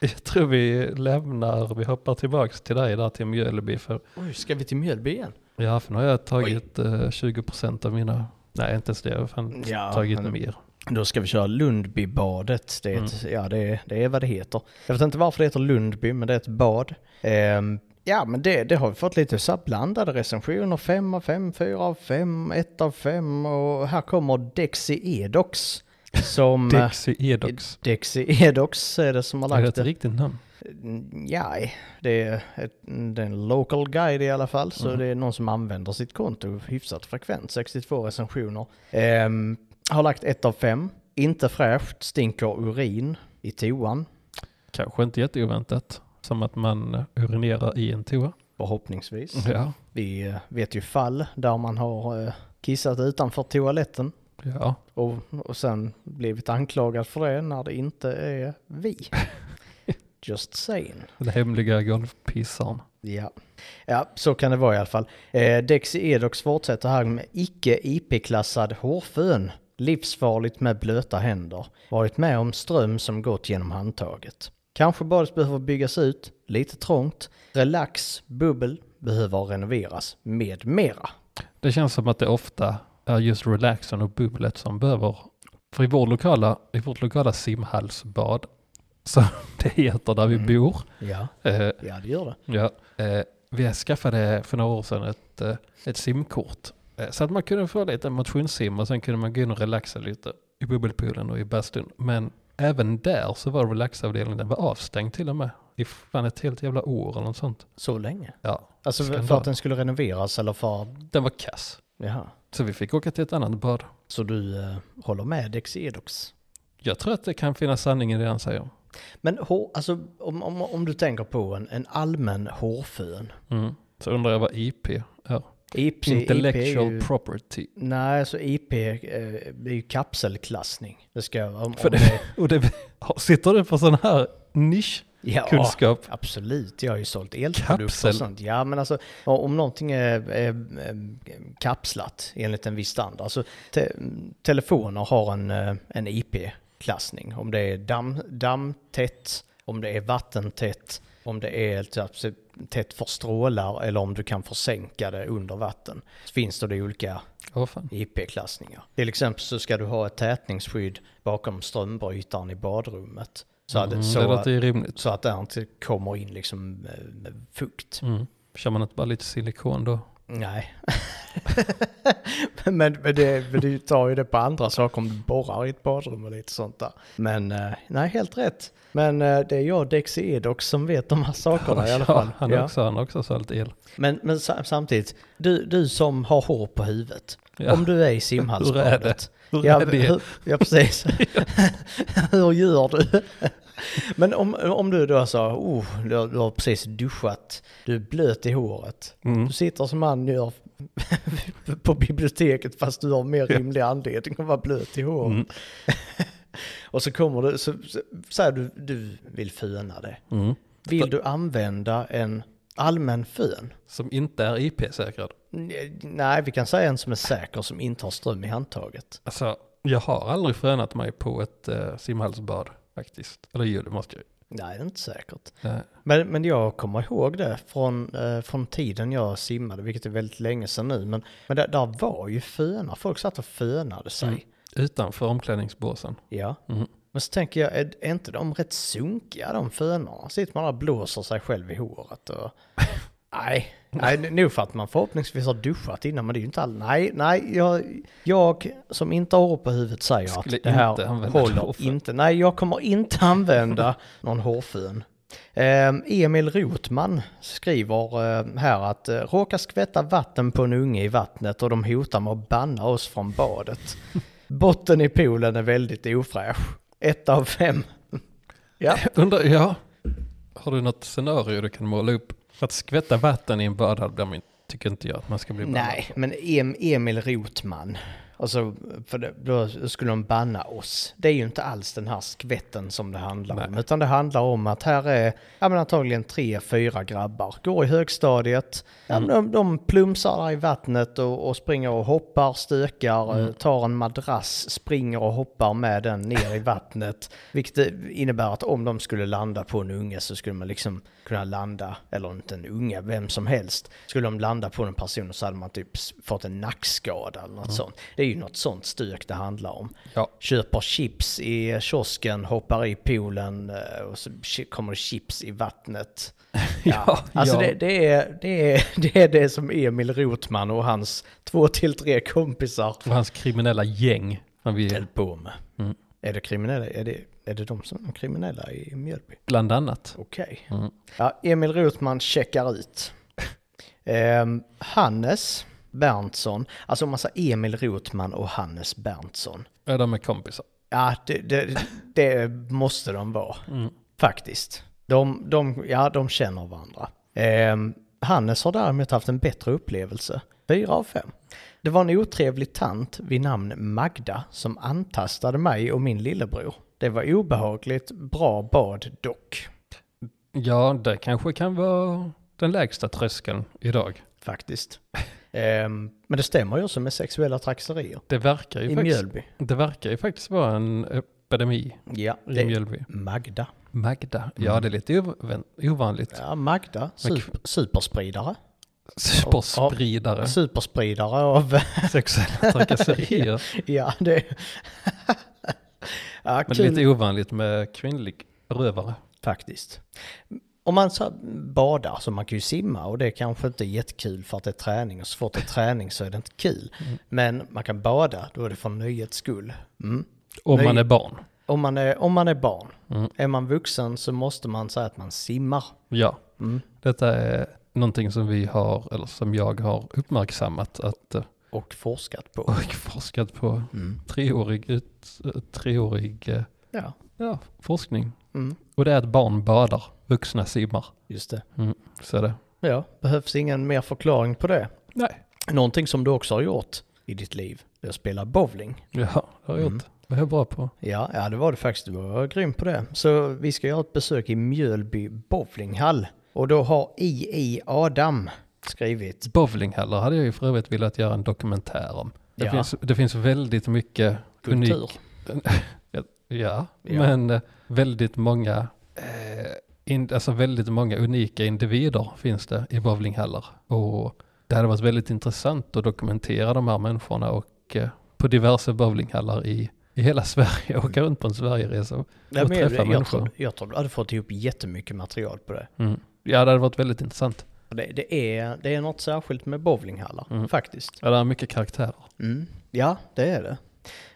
jag tror vi lämnar, vi hoppar tillbaks till dig där till Mjölby för,
Oj, ska vi till Mjölby igen?
ja för nu har jag tagit eh, 20% av mina, nej inte ens det, jag har fan
Ja,
tagit
men-
mer.
Då ska vi köra Lundbybadet. Det är, ett, ja, det, är- det är vad det heter. Jag vet inte varför det heter Lundby, men det är ett bad. Ehm, ja, men det, det har vi fått lite så här blandade recensioner. 5 av 5, 4 av 5, 1 av 5 och här kommer Dexy Edox. Som...
Dexy Edox,
Dexy Edox är det som Mm. har
är det
lagt
ett riktigt namn?
Ja, det är, ett, det är en local guide i alla fall, så det är någon som använder sitt konto hyfsat frekvent, 62 recensioner. Ehm, har lagt ett av fem inte fräscht, stinker urin, i toan.
Kanske inte jätteoväntat. Som att man urinerar i en toa.
Förhoppningsvis.
Ja.
Vi eh, vet ju fall där man har eh, kissat utanför toaletten
Ja.
och, och sen blivit anklagad för det när det inte är vi. Just saying.
Den hemliga golfpissaren.
Ja. ja, så kan det vara i alla fall. Eh, Dexy Edox fortsätter här med icke IP-klassad hårfön. Livsfarligt med blöta händer. Varit med om ström som gått genom handtaget. Kanske badet behöver byggas ut, lite trångt. Relax, bubbel, behöver renoveras med mera.
Det känns som att det ofta är just relaxen och bubblet som behöver. För i, vår lokala, i vårt lokala simhallsbad, som det heter där vi
Mm.
bor,
Ja,
eh,
ja det gör det.
ja, eh, vi skaffade för några år sedan ett, eh, ett simkort. Eh, så att man kunde få lite motionssim och sen kunde man gå in och relaxa lite i bubbelpoolen och i bastun. Men även där så var relaxavdelningen, den var avstängd till och med. I fan ett helt jävla år eller något sånt.
Så länge?
Ja,
Alltså för- för
Skandal.
att den skulle renoveras eller för...
den var kass.
Jaha.
Så vi fick åka till ett annat bad.
Så du eh, håller med Dexy Edox?
Jag tror att det kan finnas sanning i det han säger.
Men hår, alltså, om, om, om du tänker på en, en allmän hårfön.
Mm. Så undrar jag vad IP är.
IP,
Intellectual
IP är ju,
property.
Nej, alltså IP eh, är ju kapselklassning. Det ska... Om,
För
om det,
Och det, sitter du på sån här nischkunskap?
ja, absolut. Jag har ju sålt elprodukter och
Kapsel.
sånt. Ja, men alltså om om någonting är, är, är kapslat enligt en viss standard. Alltså, te, telefoner har en, eh, en IP-klassning. Om det är damm, dammtätt, om det är vattentätt, om det är typ, tätt för strålar eller om du kan försänka det under vatten. Så finns det då olika
Åh fan.
IP-klassningar. Till exempel så ska du ha ett tätningsskydd bakom strömbrytaren i badrummet. Så att,
Mm,
så,
det
att,
låter ju rimligt.
så att det inte kommer in liksom eh, med fukt.
Mm. Kör man inte bara lite silikon då?
Nej. men, men, det, men du tar ju det på andra saker om du borrar i ett badrum och lite sånt där. Men eh, nej, helt rätt. Men eh, det är jag, Dexy Edox, som vet de här sakerna i alla fall.
Ja, han,
Ja.
har också, han har också sålt el.
Men, men sa- samtidigt, du, du som har hår på huvudet.
Ja.
Om du är i
Hur är
simhallsbadet.
det? Hur
Ja,
är det?
hur, ja precis. hur gör du? Men om, om du då sa, oh, du, har- du har precis duschat, du är blöt i håret.
Mm.
Du sitter som han gör på biblioteket fast du har mer rimlig anledning att vara blöt i håret.
Mm.
Och så kommer du, så, så, säger du, du vill föna det.
Mm.
Vill du använda en allmän fön?
Som inte är IP-säkrad.
N- Mm. Nej, vi kan säga en som är säker som inte har ström i handtaget.
Alltså, jag har aldrig frönat mig på ett eh, simhallsbad faktiskt. Eller jo, det måste Eh, jag ju.
Nej, det är inte säkert.
Nej.
Men, men jag kommer ihåg det från, eh, från tiden jag simmade, vilket är väldigt länge sedan nu. Men, men där, där var ju fönar, folk satt och fönade sig.
Mm. Utanför omklädningsbåsen.
Ja.
Mm.
Men så tänker jag, är, är inte de rätt sunkiga de fönarna? Sitter man där och blåser sig själv i håret och... Nej, nej, nog för att man förhoppningsvis har duschat innan, men det är ju inte all... Nej, nej, jag, jag som inte har hår på huvudet säger
Skulle
att det här
inte använda
håller
hårfön.
inte. Nej, jag kommer inte använda någon hårfön. Ehm, Emil Rotman skriver eh, här att eh, råka skvätta vatten på en unge i vattnet och de hotar med att banna oss från badet. Botten i poolen är väldigt ofräsch. Ett av fem. Ja.
Undrar, ja. Har du något scenario du kan måla upp? För att skvätta vatten i en badhall blir man, tycker inte jag att man ska bli bannad.
Nej, men em, Emil Rotman. Alltså, för det, då skulle de banna oss. Det är ju inte alls den här skvätten som det handlar om.
Nej.
Utan det handlar om att här är ja, men antagligen tre, fyra grabbar. Går i högstadiet. Ja, men de, de plumsar där i vattnet och, och springer och hoppar, stökar, eh, tar en madrass, springer och hoppar med den ner i vattnet. Vilket innebär att om de skulle landa på en unge så skulle man liksom kunna landa, eller inte en unge, vem som helst. Skulle de landa på en person så hade man typ s- fått en nackskada eller något sånt. Det är ju något sånt stök det handlar om.
Ja.
Köper chips i kiosken, hoppar i poolen eh, och så chi- kommer det chips i vattnet.
Ja,
Alltså
ja.
Det, det, är, det, är, det är det som Emil Rotman och hans två till tre kompisar
Och hans kriminella gäng. Han vill,
höll på med.
Mm.
Är det kriminella? Är det, är det de som är kriminella i Mjölby?
bland annat.
Okej.
Mm.
Ja, Emil Rotman checkar ut. Ehm, Hannes Berntsson, alltså om man säger Emil Rotman och Hannes Berntsson.
Ja, de är kompisar.
Ja, det, det, det måste de vara.
Mm.
Faktiskt. De, de, ja, de känner varandra. Ehm, Hannes har däremot haft en bättre upplevelse. Fyra av fem. Det var en otrevlig tant vid namn Magda som antastade mig och min lillebror. Det var obehagligt, bra bad dock.
Ja, det kanske kan vara den lägsta tröskeln idag.
Faktiskt. Ehm, men det stämmer ju också med sexuella trakasserier.
Det verkar ju,
I
faktiskt,
Mjölby.
det verkar ju faktiskt vara en epidemi
Ja,
i
det är
Mjölby. Mm.
Magda.
Magda, ja det är lite ovän- ovanligt.
Ja, Magda.
Men-
Super, superspridare.
Superspridare,
Superspridare av...
sexuella trakasserier.
ja, det... ja,
Men det är
kul.
lite ovanligt med kvinnlig rövare.
Faktiskt. Om man så badar, så man kan ju simma och det är kanske inte jättekul för att det är träning och så fort det är träning så är det inte kul.
Mm.
Men man kan bada, då är det för nöjets skull. Mm.
Om
Nej.
man är barn.
Om, man är, om man är barn,
Mm.
är man vuxen så måste man säga att man simmar.
Ja,
Mm.
detta är någonting som vi har, eller som jag har uppmärksammat att, eh,
Och forskat på.
och forskat på
Mm.
treårig, ut, eh, treårig eh,
Ja,
ja, forskning.
mm.
Och det är att barn badar, vuxna simmar.
just det.
Så är det.
Ja, behövs ingen mer förklaring på det.
Nej.
Någonting som du också har gjort i ditt liv, det är att spela bowling.
Ja, det har jag
Mm.
gjort. Det är jag bra på.
Ja, ja, det var det faktiskt. Du var grym på det. Så vi ska göra ett besök i Mjölby bowlinghall. Och då har I.I. Adam skrivit.
Bowlinghallar hade jag ju för övrigt velat göra en dokumentär om. Det,
Ja.
finns, det finns väldigt mycket unik-
Kultur.
Ja,
Ja.
men eh, väldigt många, eh, in, alltså väldigt många unika individer finns det i bowlinghallar. Och det hade varit väldigt intressant att dokumentera de här människorna och eh, på diverse bowlinghallar i, i hela Sverige, åka runt på en Sverigeresa.
Nej, men jag,
träffa
jag, tror,
människor.
jag tror du hade fått ihop jättemycket material på det.
Mm. Ja, det hade varit väldigt intressant.
Och Det, det, är, det är något särskilt med bowlinghallar,
Mm.
faktiskt.
Ja, det är mycket karaktärer.
Mm. Ja, det är det.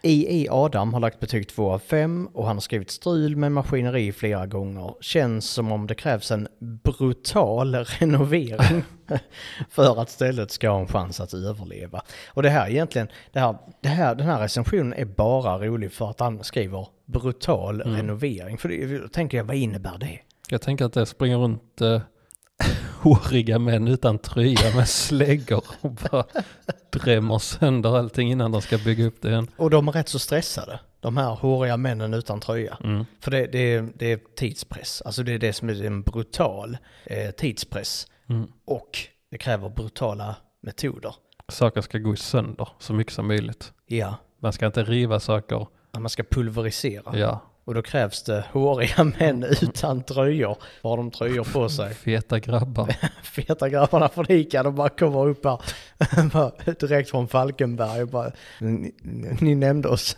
I.I. Adam har lagt betyg 2 av 5 och han har skrivit strul med maskineri flera gånger. Känns som om det krävs en brutal renovering för att stället ska ha en chans att överleva. Och det här egentligen, det här, det här, den här recensionen är bara rolig för att han skriver brutal renovering. För det, då tänker jag, vad innebär det?
Jag tänker att det springer runt eh, håriga män utan tröja med släggor och bara drämmer sönder allting innan de ska bygga upp det igen.
Och de är rätt så stressade, de här håriga männen utan tröja.
Mm.
För det, det, är- det är tidspress, alltså det är det som är en brutal eh, tidspress.
Mm.
Och det kräver brutala metoder.
saker ska gå sönder så mycket som möjligt.
Ja,
Man ska inte riva saker.
när man ska pulverisera.
Ja, Mm.
Och då krävs det håriga män utan tröjor. Vad Har de tröjor på sig?
feta grabbar.
Feta grabbarna från ICA, de bara kommer upp här bara direkt från Falkenberg och bara ni, ni nämnde oss.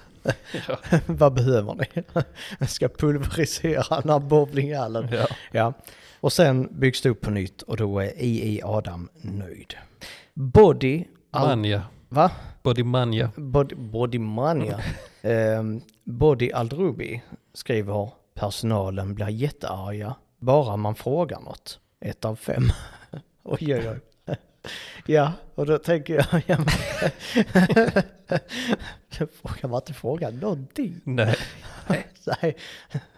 Ja.
Vad behöver ni? Jag ska pulverisera den här bowlinghallen.
Ja.
Ja, och sen byggs det upp på nytt och då är I.I. Adam nöjd. Body... Al-
Manja.
va?
Body manja.
Body, body Mania. Ehm, body Aldrubi skriver personalen blir jättearga bara man frågar något. Ett av fem. oj, oj, oj. Ja, och då tänker jag... Ja, men, frågar man inte fråga någonting?
Nej.
Nej,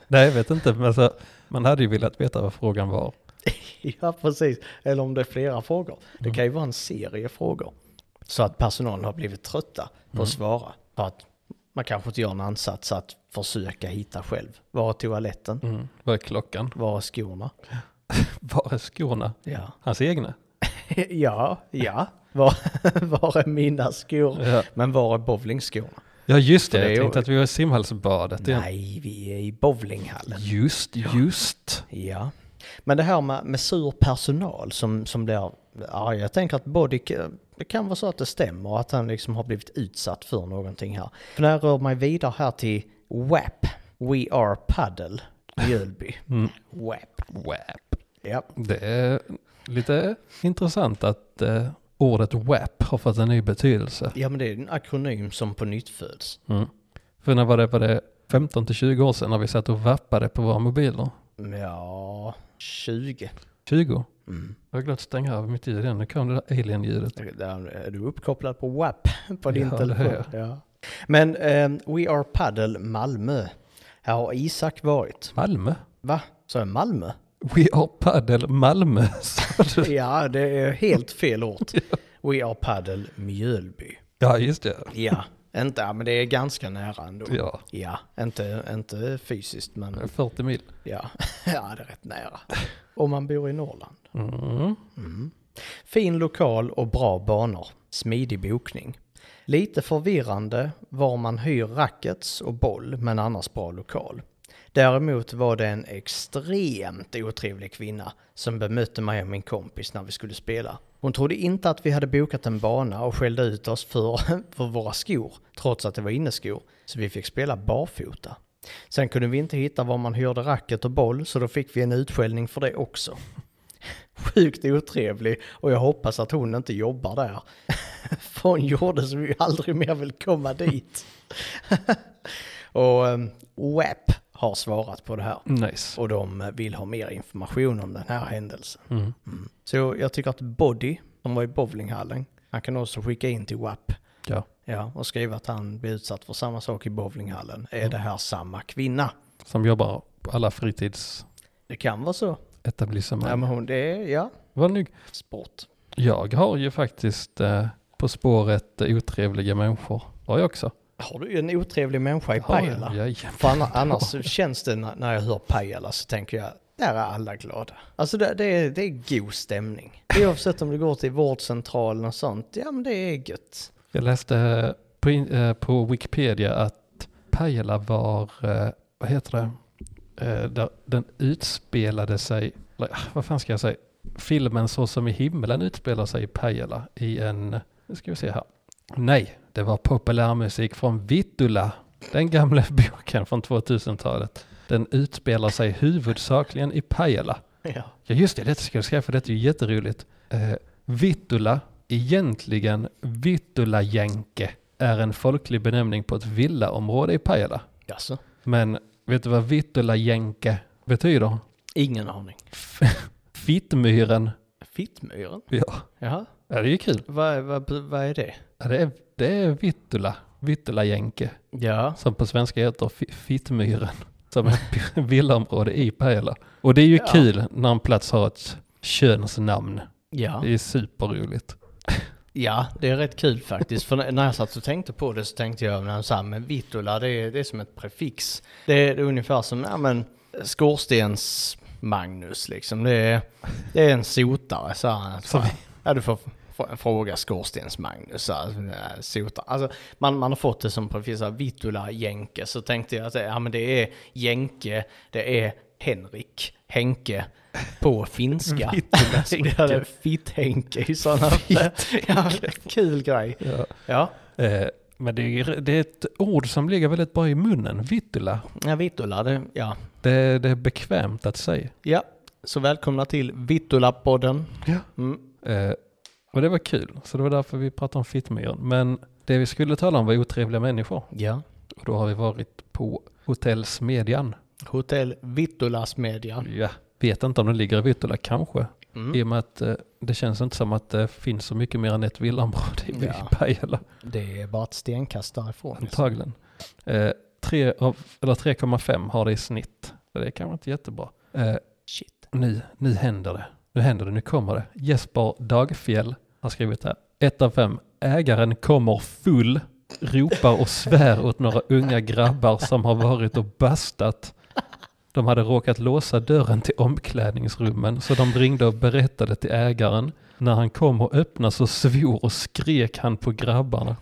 Nej, jag vet inte. Men alltså, man hade ju velat veta vad frågan var.
Ja, precis. Eller om det är flera frågor.
Mm.
Det kan ju vara en serie frågor. Så att personalen har blivit trötta på
Mm.
att svara. För att man kanske inte gör en ansats att försöka hitta själv. Var är toaletten?
Mm. Vad är klockan?
Var är skorna?
Var är skorna?
Ja,
Hans egna?
ja, ja. Var, var är mina skor?
Ja,
Men var är bowlingskorna?
ja just det.
Det är
Jag
ju-
tänkte att vi var i simhallsbadet igen.
Nej, vi är i bowlinghallen.
Just, just.
Ja. Men det här med, med sur personal som, som blir arg. Jag tänker att Body, det kan vara så att det stämmer att han liksom har blivit utsatt för någonting här. För när jag rör mig vidare här till WAP, We Are Paddle, Mjölby.
Mm.
WAP.
WAP.
Ja.
Det är lite intressant att eh, ordet WAP har fått en ny betydelse.
ja, men det är en akronym som på nytt föds.
Mm. För när var det, var det 15 till 20 år sedan när vi satt och vappade på våra mobiler?
Ja, 20.
20?
Mm.
Jag har glömt stänga av mitt ljud igen. Nu kom det där alien-ljudet.
Där Är du uppkopplad på WAP på din
Ja, det är
telefon? Ja. Men eh, We Are Paddle Malmö. Här har Isak varit.
Malmö?
Va? Sa jag Malmö?
We are paddle Malmö. sa du.
Ja, det är helt fel ort. We Are Paddle Mjölby.
ja, just det.
Ja, inte, ja, men det är ganska nära ändå.
Ja,
Ja, inte, inte fysiskt
det är
men
40 mil.
ja. ja, det är rätt nära. Om man bor i Norrland.
Mm.
Mm. Fin lokal och bra banor. Smidig bokning. Lite förvirrande var man hyr rackets och boll men annars bra lokal. Däremot var det en extremt otrevlig kvinna som bemötte mig och min kompis när vi skulle spela. Hon trodde inte att vi hade bokat en bana och skällde ut oss för, för våra skor, trots att det var inneskor, så vi fick spela barfota. Sen kunde vi inte hitta var man hyrde racket och boll, så då fick vi en utskällning för det också sjukt otrevlig och jag hoppas att hon inte jobbar där. För hon gjorde så vi aldrig mer vill komma dit. och um, WEP har svarat på det här
Nice.
och de vill ha mer information om den här händelsen.
Mm.
Mm. Så jag tycker att Body, som var i bowlinghallen, han kan också skicka in till WAP
Ja.
ja, och skriva att han blir utsatt för samma sak i bowlinghallen. Är det här samma kvinna?
Som jobbar på alla fritidsetablissemang.
Det kan vara så. Ja, men
Ja,
hon, det är, ja,
Vad snygg.
sport.
Jag har ju faktiskt eh, På spåret eh, otrevliga människor. Har jag också.
Har du en otrevlig människa i
Har jag?
Pajala?
Jajamän.
För anna- annars så känns det när när jag hör Pajala så tänker jag, där är alla glada. Alltså det, det, är, det är god stämning. Oavsett om du går till vårdcentralen och sånt, ja men det är gött.
Jag läste på, in- eh, på Wikipedia att Pajala var, eh, vad heter det, Eh, där den utspelade sig, eller, ah, vad fan ska jag säga, filmen Så som i himlen utspelar sig i Pajala i en, nu ska vi se här, nej, det var populärmusik från Vittula, den gamla boken från 2000-talet. Den utspelar sig huvudsakligen i Pajala.
Ja.
Ja just det, detta ska jag skriva för detta är ju jätteroligt. Eh, Vittula, egentligen Vittulajänke, är en folklig benämning på ett villaområde i Pajala.
Jaså?
Men vet du vad Vittulajänke betyder?
Ingen aning.
F- Fittmyren.
Fittmyren?
Ja,
Jaha,
ja det är ju kul.
vad, vad, vad är det?
Ja, det, är, det är Vittula, Vittulajänke,
Ja.
som på svenska heter Fi- Fittmyren, som är ett villaområde i Pajala. Och det är ju
Ja.
kul när en plats har ett könsnamn.
Ja.
Det är superroligt.
ja, det är rätt kul faktiskt. För när- när jag satt och tänkte på det så tänkte jag, när jag sa, men Vittula det är, det är som ett prefix. Det är, det är ungefär som, ja men skorstens Magnus liksom. Det är, det är en sotare, sa han.
Som-
Ja, du får f- f- fråga skorstens Magnus, så här, äh, sotare. Alltså, man, man har fått det som precis så här, Vittula Jänke, så tänkte jag att det- ja, men det är Jänke, det är Henrik, Henke, på finska.
Vittula
Så det är Fitt-Henke i sådana fall. Ja, kul grej.
Ja.
Ja,
Eh, men det är, det är ett ord som ligger väldigt bra i munnen, vittula.
ja Vittula, det, ja.
Det, det är bekvämt att säga.
ja. Så välkomna till Vittula-podden.
Ja.
Mm.
Eh, och det var kul, så det var därför vi pratade om fittmyren. Men det vi skulle tala om var otrevliga människor.
Ja.
Och då har vi varit på Hotell Smedjan.
Hotell Vittulas Media.
Ja, vet inte om den ligger i Vittula, kanske.
Mm.
I och med att eh, det känns inte som att det finns så mycket mer än ett villaområde i
Ja.
Pajala.
Det är bara ett stenkast därifrån.
Antagligen. Eh, tre av- eller 3,5 har det i snitt. Så Det är kanske inte jättebra. Eh,
Shit.
Nu, nu händer det. Nu händer det, nu kommer det. Jesper Dagfjell har skrivit här. Ett av fem. Ägaren kommer full, ropar och svär åt några unga grabbar som har varit och bastat. De hade råkat låsa dörren till omklädningsrummen så de ringde och berättade till ägaren. När han kom och öppnade så svor och skrek han på grabbarna.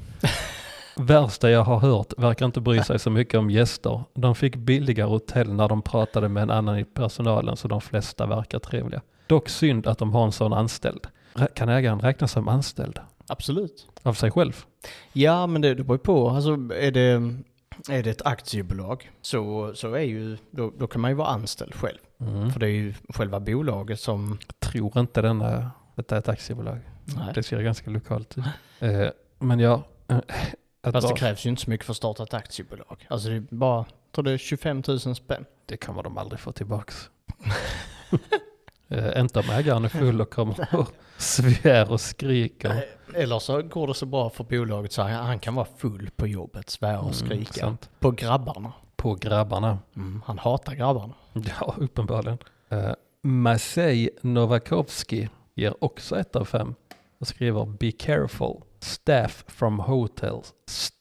Värsta jag har hört verkar inte bry sig så mycket om gäster. De fick billigare hotell när de pratade med en annan i personalen så de flesta verkar trevliga. Dock synd att de har en sån anställd. Rä- Kan ägaren räknas som anställd?
Absolut.
Av sig själv?
Ja, men det, det beror ju på. Alltså, är det, är det ett aktiebolag så, så är ju, då, då kan man ju vara anställd själv.
Mm.
För det är ju själva bolaget som...
Tror inte denna, detta är ett aktiebolag.
Nej.
Det ser ganska lokalt ut. Eh, men ja. eh, Att
Fast det
vara-
krävs ju inte så mycket för att starta ett aktiebolag. Alltså det är bara, jag tror det är 25 000 spänn.
det kommer de aldrig få tillbaks. eh, inte om ägaren är full och kommer och svär och skriker.
Nej, Eller så går det så bra för bolaget så här, han kan vara full på jobbet, svära
Mm,
och skrika.
sant.
på grabbarna.
På grabbarna.
Mm, han hatar grabbarna.
Ja, uppenbarligen. Uh, Masej Novakovsky ger också ett av fem och skriver Be careful. Staff from hotels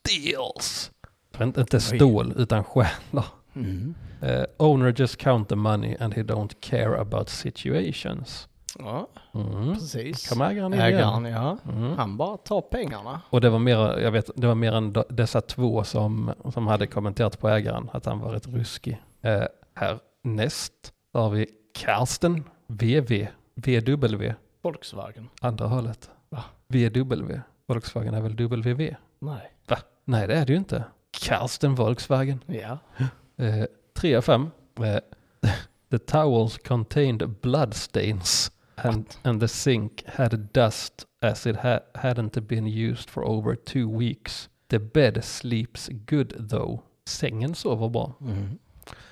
steals. För inte, inte stål, utan stjärnor.
Mm.
Eh, owner just count the money and he don't care about situations.
Ja,
Mm.
precis.
Kom ägaren in igen.
Ägaren, ja.
Mm.
Han bara tar pengarna.
Och det var mer, jag vet, det var mer än d- dessa två som, som hade kommenterat på ägaren att han var rätt ruskig. Eh, här näst där har vi Karsten VV, VW,
Volkswagen.
andra hållet.
Va?
VW, Volkswagen är väl WV?
Nej.
Va? Nej det är det ju inte. Karsten Volkswagen.
Ja.
Eh, 3 av 5. Eh, the towels contained bloodstains and, and the sink had dust as it ha hadn't been used for over two weeks. The bed sleeps good though. Sängen sover bra.
Mm.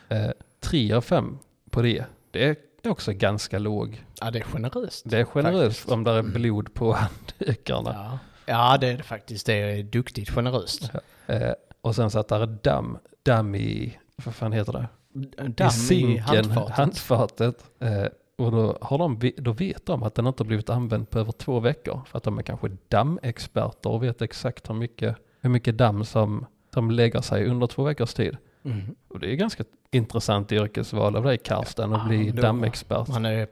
Eh, 3 av 5 på det. Det är också ganska låg.
Ja, det är generöst.
Det är generöst
Faktiskt.
om det är blod på handdukarna.
Ja. ja, det är det faktiskt. Det är duktigt generöst.
Eh, och sen så att där är damm. Damm i, vad fan heter det?
Damm
i sinken, handfatet.
handfatet.
Eh, och då, har de, vi- då vet de att den inte har blivit använd på över två veckor. För att de är kanske dammexperter och vet exakt hur mycket, hur mycket damm som, som lägger sig under två veckors tid.
Mm.
Och det är ganska intressant yrkesval av dig Karsten att bli
Ah, då.
dammexpert.
Han är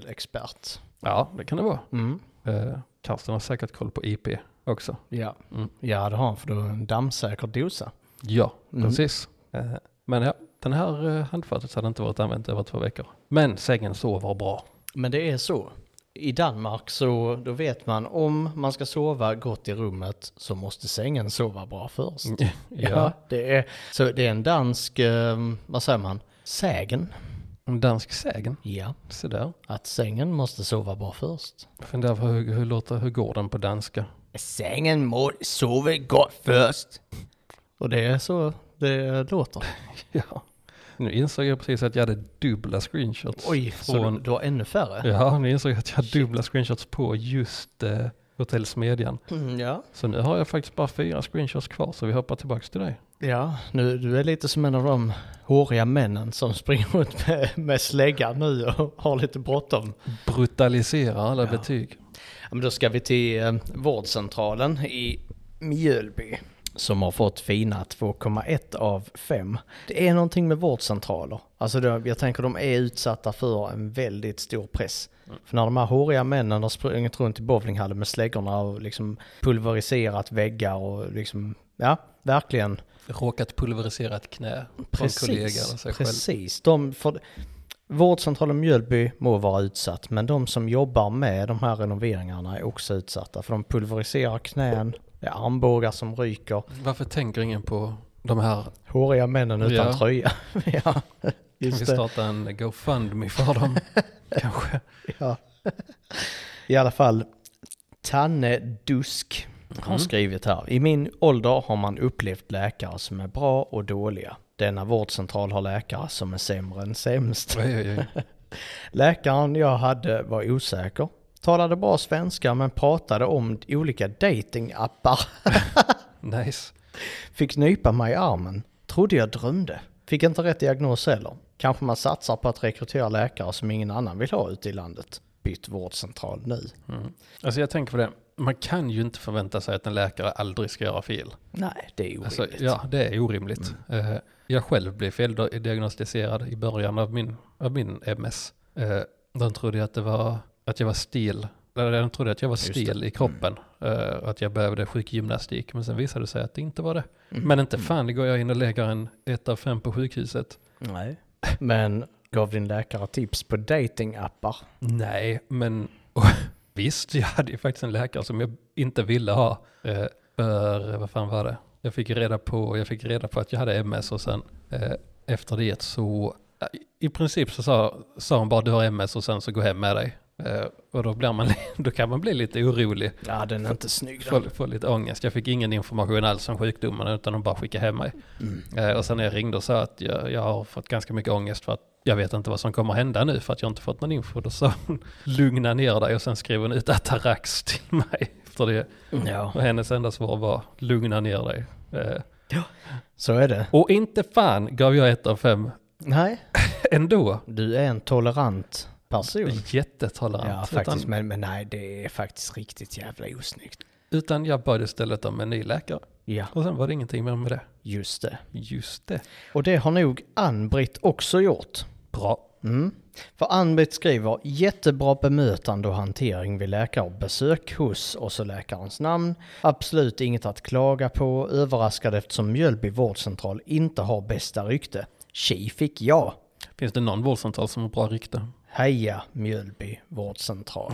partikelexpert.
Ja, det kan det vara.
Mm.
Eh, Karsten har säkert koll på IP också.
Ja.
Mm.
ja, det har han för då är det en dammsäker dosa.
Ja,
Mm.
precis. Eh, men ja, den här eh, handfatet hade inte varit använt över två veckor. Men sängen sover bra.
Men det är så. I Danmark så då vet man om man ska sova gott i rummet så måste sängen sova bra först. Mm. Ja, det är, så det är en dansk, eh, vad säger man, sägen.
En dansk sägen.
Ja,
Se där.
att sängen måste sova bra först.
Jag funderar på hur, hur, låter, hur går den på danska?
Sängen må sova gott först. Och det är så det låter.
Ja. Nu insåg jag precis att jag hade dubbla screenshots.
Oj, så
från-
du, du har ännu färre?
Ja, nu insåg jag att jag hade dubbla screenshots på just eh, hotellsmedjan.
Mm, ja.
Så nu har jag faktiskt bara fyra screenshots kvar så vi hoppar tillbaka till dig.
Ja, nu, du är lite som en av de håriga männen som springer runt med, med släggan nu och har lite bråttom.
Brutalisera alla
Ja.
betyg.
Ja, men då ska vi till eh, vårdcentralen i Mjölby som har fått fina 2,1 av 5. Det är någonting med vårdcentraler. Alltså då, jag tänker de är utsatta för en väldigt stor press. För när de här håriga männen har sprungit runt i bowlinghallen med släggorna och liksom pulveriserat väggar och liksom, ja, verkligen
Råkat pulverisera ett knä från
Precis,
kollega eller sig själv.
precis. De, för, vårdcentralen Mjölby må vara utsatt, men de som jobbar med de här renoveringarna är också utsatta. För de pulveriserar knän, det är armbågar som ryker,
Varför tänker ingen på de här?
håriga männen utan
Ja.
tröja. ja,
Kan vi
just det.
starta en GoFundMe för dem? Kanske.
Ja. I alla fall, Tanne Dusk har
Mm.
skrivit här. I min ålder har man upplevt läkare som är bra och dåliga. Denna vårdcentral har läkare som är sämre än sämst.
Oj, oj, oj.
Läkaren jag hade var osäker. Talade bra svenska men pratade om olika datingappar.
Nice.
Fick nypa mig i armen. Trodde jag drömde. Fick inte rätt diagnos heller. Kanske man satsar på att rekrytera läkare som ingen annan vill ha ute i landet. Bytt vårdcentral nu.
Alltså jag tänker på det, man kan ju inte förvänta sig att en läkare aldrig ska göra fel.
Nej, det är orimligt. Mm.
Alltså, ja, det är orimligt. Eh, jag själv blev feldiagnostiserad i början av min, av min MS. Uh, de trodde ju att, det var, att jag var stel. Eller De trodde att jag var
det. Mm.
stel i kroppen. eh, och att jag behövde sjukgymnastik. Men sen visade det sig att det inte var det.
Mm.
Men inte fan går jag in och lägger en ett av fem på sjukhuset.
Nej. Men gav din läkare tips på datingappar?
Nej, men visst, jag hade ju faktiskt en läkare som jag inte ville ha. Eh, för, vad fan var det? Jag fick reda på, jag fick reda på att jag hade MS och sen eh, efter det så, eh, i princip så sa, sa hon bara du har MS och sen så gå hem med dig. Eh, och då, blir man, då kan man bli lite orolig.
Ja, den är inte snygg
Få,
den.
få lite ångest. Jag fick ingen information alls om sjukdomen utan de bara skickade hem mig. Eh, och sen när jag ringde och sa att jag, jag har fått ganska mycket ångest för att jag vet inte vad som kommer hända nu för att jag inte fått någon info. Då sa hon lugna ner dig och sen skrev hon ut Atarax till mig. Efter det.
Ja,
Och hennes enda svar var lugna ner dig. Eh,
så är det.
och inte fan gav jag ett av fem
Nej,
ändå.
du är en tolerant person.
Jättetolerant.
Ja,
utan,
faktiskt. Men, men nej, det är faktiskt riktigt jävla osnyggt.
utan jag bad istället om en ny läkare.
Ja,
Och sen var det ingenting mer med det.
just det.
Just det.
Och det har nog Ann-Britt också gjort.
Bra.
Mm. För Ann-Britt skriver jättebra bemötande och hantering vid läkarbesök hos och så läkarens namn. Absolut inget att klaga på. Överraskad eftersom Mjölby vårdcentral inte har bästa rykte. Tji fick jag.
Finns det någon vårdcentral som har bra rykte?
Heja Mjölby vårdcentral.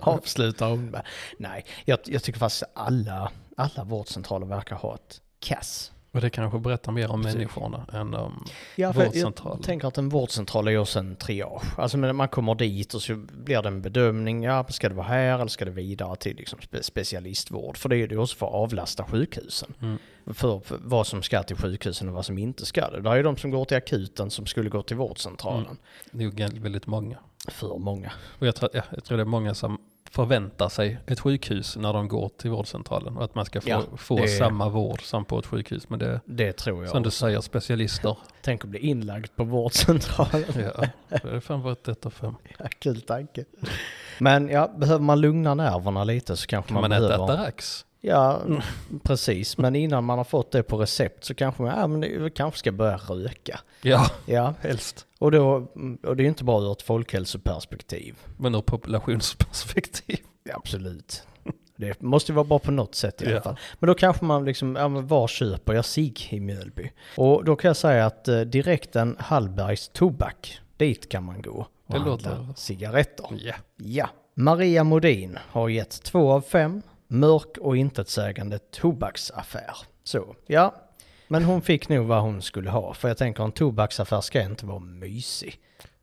Avslutar hon med. Nej, jag, jag tycker faktiskt alla, alla vårdcentraler verkar ha ett kass.
Och det kanske berättar mer om människorna än om...
Ja, för
Vårdcentralen.
Jag tänker att en vårdcentral är också en triage. Alltså men man kommer dit och så blir det en bedömning. Ja, ska det vara här eller ska det vidare till liksom spe- specialistvård? För det är ju det också för att avlasta sjukhusen. För, för vad som ska till sjukhusen och vad som inte ska det. Det är ju de som går till akuten som skulle gå till vårdcentralen.
Nog väldigt många.
För många.
Och jag tror, ja, jag tror det är många som förväntar sig ett sjukhus när de går till vårdcentralen. Och att man ska få,
Ja,
få
det-
samma vård som på ett sjukhus. Men det är,
Det tror jag.
som du säger, specialister.
Tänk att bli inlagd på vårdcentralen.
ja, det är fan varit ett av fem.
Ja, Kul tanke. Men ja, behöver man lugna nerverna lite så kanske
Kan
man,
man äta
behöver...
Atarax?
Ja, precis. Men innan man har fått det på recept så kanske man ja, men det- kanske ska börja röka.
Ja,
Ja,
helst.
och, då, och det är ju inte bara ur ett folkhälsoperspektiv.
Men ur populationsperspektiv.
Absolut. Det måste ju vara bra på något sätt i alla
Ja.
fall. Men då kanske man liksom, ja men var köper jag sig i Mjölby? Och då kan jag säga att eh, direkt en Hallbergs tobak, dit kan man gå och
Det
handla
låter-
cigaretter.
Ja,
Ja. Maria Modin har gett två av fem. Mörk och intetsägande tobaksaffär. Så, ja. Men hon fick nog vad hon skulle ha. För jag tänker en tobaksaffär ska inte vara mysig.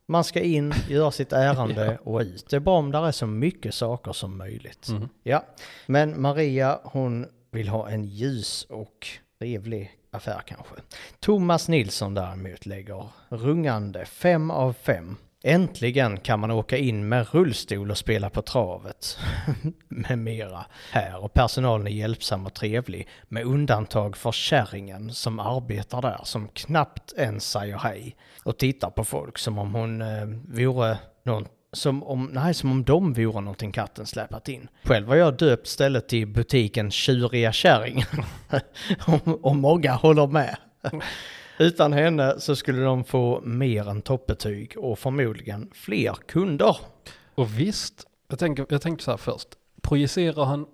Man ska in, göra sitt ärende och ut. Det är bra om där är så mycket saker som möjligt. Ja. Men Maria, hon vill ha en ljus och trevlig affär kanske. Thomas Nilsson däremot lägger rungande fem av fem. Äntligen kan man åka in med rullstol och spela på travet med mera här och personalen är hjälpsam och trevlig med undantag för kärringen som arbetar där som knappt ens säger hej och tittar på folk som om hon eh, vore någon som om, nej, som om de vore någonting katten släpat in. Själv har jag döpt stället till butiken Tjuriga Kärringen. och, och många håller med. Utan henne så skulle de få mer än toppbetyg och förmodligen fler kunder.
Och visst, jag, tänker, jag tänkte så här först. Projicerar han, eh,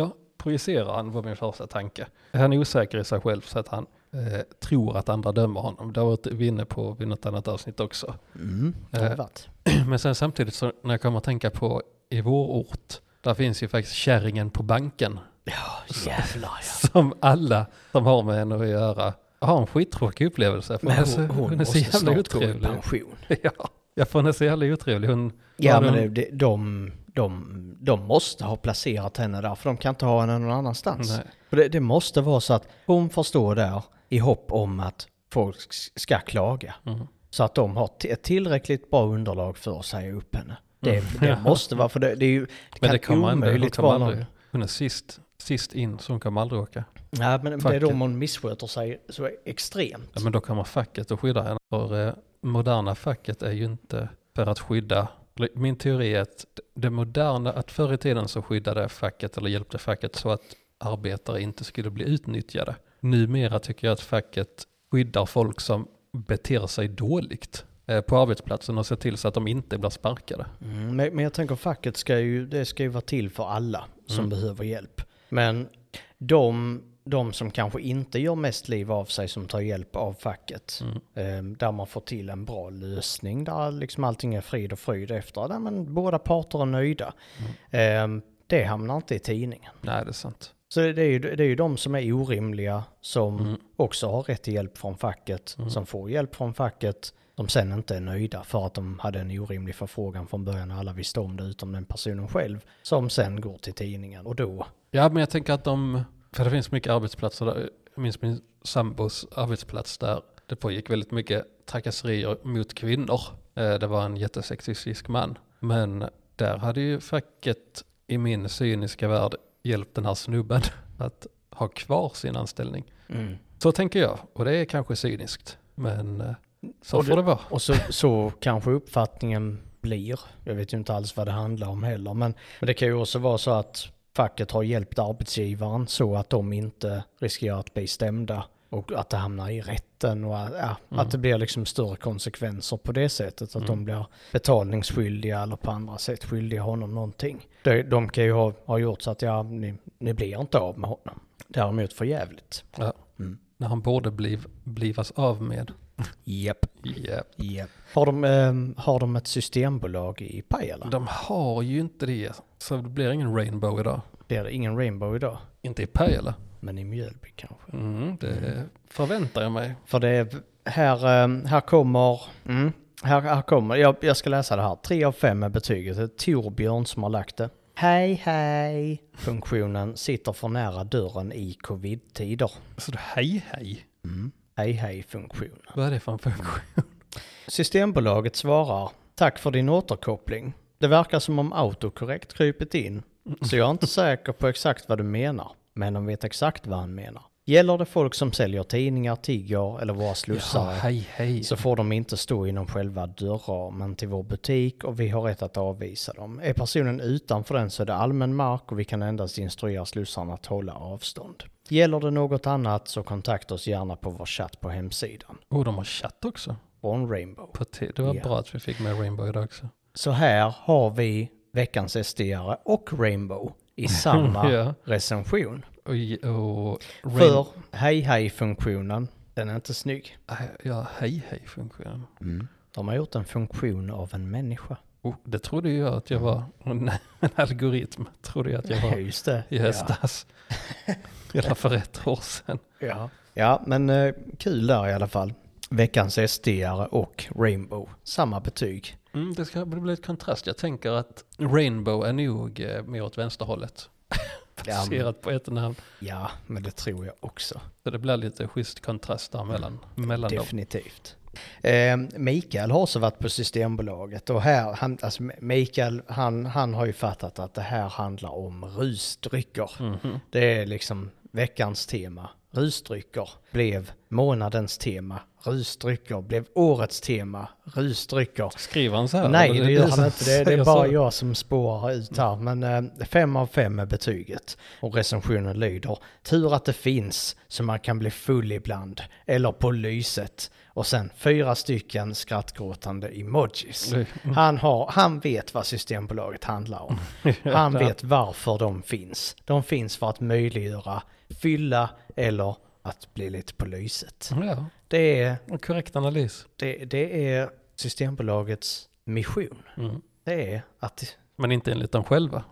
ja, projicerar han var min första tanke. Han är osäker i sig själv så att han eh, tror att andra dömer honom. Det har varit vi inne på vid något annat avsnitt också.
Mm, det har det varit.
Men sen samtidigt så när jag kommer att tänka på i vår ort, där finns ju faktiskt kärringen på banken.
Ja, jävlar ja.
Som alla som har med henne att göra har en skittråkig upplevelse. För hon, är
alltså,
så, hon, är så jävla otrevlig.
pension.
Ja, ja, för hon är så jävla otrevlig. Hon,
Ja,
har
men
någon-
det- det- de, de, de måste ha placerat henne där, för de kan inte ha henne någon annanstans.
Nej.
För det, det måste vara så att hon får stå där i hopp om att folk s- ska klaga.
Mm.
Så att de har t- ett tillräckligt bra underlag för att säga upp henne. Det, det måste vara, för det, det är ju... Det
Mm. Men
kan
det kommer aldrig, hon
omöjligt
kommer
vara någon-
aldrig. Hon är sist, sist in så hon kommer aldrig åka.
Nej, men det är
Facket.
då man missköter sig så extremt.
Ja, men då kommer facket att skydda henne. För eh, moderna facket är ju inte för att skydda. Min teori är att det moderna, att förr i tiden så skyddade facket eller hjälpte facket så att arbetare inte skulle bli utnyttjade. Numera tycker jag att facket skyddar folk som beter sig dåligt eh, på arbetsplatsen och ser till så att de inte blir sparkade.
Mm, men, men jag tänker facket ska ju, det ska ju vara till för alla som
Mm.
behöver hjälp. Men de, de som kanske inte gör mest liv av sig som tar hjälp av facket,
Mm.
eh, där man får till en bra lösning, där liksom allting är frid och fröjd efter, där man, båda parter är nöjda,
Mm.
eh, det hamnar inte i tidningen.
Nej, det är sant.
Så det det är, ju, det är ju de som är orimliga som också har rätt till hjälp från facket, som får hjälp från facket, de sen inte är nöjda för att de hade en orimlig förfrågan från början och alla visste om det utom den personen själv som sen går till tidningen och då
Ja, men jag tänker att de, för det finns mycket arbetsplatser där, jag minns min sambos arbetsplats där det pågick väldigt mycket trakasserier mot kvinnor. Eh, Det var en jättesexistisk man. Men där hade ju facket i min cyniska värld hjälpt den här snubben att ha kvar sin anställning. Så tänker jag, och det är kanske cyniskt. Men eh, så
Och det-
får det vara.
Och så, så kanske uppfattningen blir, jag vet ju inte alls vad det handlar om heller, men, men det kan ju också vara så att facket har hjälpt arbetsgivaren så att de inte riskerar att bli stämda och att det hamnar i rätten och att- ja, att det blir liksom större konsekvenser på det sättet. Att de blir betalningsskyldiga eller på andra sätt skyldiga honom någonting. De, de kan ju ha, ha gjort så att ja, ni, ni blir inte av med honom. Däremot för jävligt.
Ja.
Mm.
När han borde bliv, blivas av med.
Japp,
Yeah.
japp. Har de, ehm, har de ett systembolag i Pajala?
De har ju inte det, så det blir ingen rainbow idag.
blir det ingen Rainbow idag,
Inte i Pajala.
men i Mjölby kanske.
Mm, det förväntar jag mig.
För det är, här, eh, här kommer, mm, här, här kommer, jag, jag ska läsa det här. Tre av fem är betyget. Det är Torbjörn som har lagt det. Hej hej! Funktionen sitter för nära dörren i covid-tider.
Så du, hej hej. Mm,
Hej hej funktion.
Vad är det för en funktion?
Systembolaget svarar Tack för din återkoppling. Det verkar som om autokorrekt krypit in, så jag är inte säker på exakt vad du menar. Men de vet exakt vad han menar. Gäller det folk som säljer tidningar, tiggar eller våra
Jaha,
slussare
hej hej.
så får de inte stå inom själva dörrramen till vår butik och vi har rätt att avvisa dem. Är personen utanför den så är det allmän mark och vi kan endast instruera slussarna att hålla avstånd. Gäller det något annat så kontakta oss gärna på vår chatt på hemsidan.
Och oh, de har chatt också.
On Rainbow.
På te- det var
Ja.
bra att vi fick med Rainbow idag också.
Så här har vi veckans SD-are och Rainbow i samma
Ja.
recension.
Och, ge- och Rain-
För hej hej-funktionen, den är inte snygg.
He- Ja, hej hej funktionen.
De har gjort en funktion av en människa.
Oh, det trodde jag att jag var. En, en algoritm trodde jag att jag
Ja,
var
just det.
i höstas. Eller för ett år sedan.
Ja. Ja. ja, men eh, kul där i alla fall. Veckans SD-are och Rainbow, samma betyg.
Mm, det ska bli ett kontrast. Jag tänker att Rainbow är nog eh, mer åt vänsterhållet.
Ja, men-
Baserat på ett namn.
Ja, men det tror jag också.
Så det blir lite schysst kontrast där mellan, mellan dem.
Definitivt. Eh, Mikael har också varit på Systembolaget och här, han, alltså Mikael, han, han har ju fattat att det här handlar om rusdrycker.
Mhm.
Det är liksom veckans tema. Rusdrycker blev månadens tema. Rusdrycker blev årets tema. Rusdrycker.
Skriver han så här?
Nej,
Eller
det
är
gör
du som
han inte. Det, det
säger
är bara
så?
jag som spårar ut här. Men eh, fem av fem är betyget. Och recensionen lyder. Tur att det finns så man kan bli full ibland. Eller på lyset. Och sen fyra stycken skrattgråtande emojis.
Mm.
Han, har, han vet vad Systembolaget handlar om. Han vet varför de finns. De finns för att möjliggöra fylla eller att bli lite på lyset.
Ja,
Det är,
en korrekt analys.
det, det är Systembolagets mission.
Mm.
Det är att
Men inte enligt dem själva.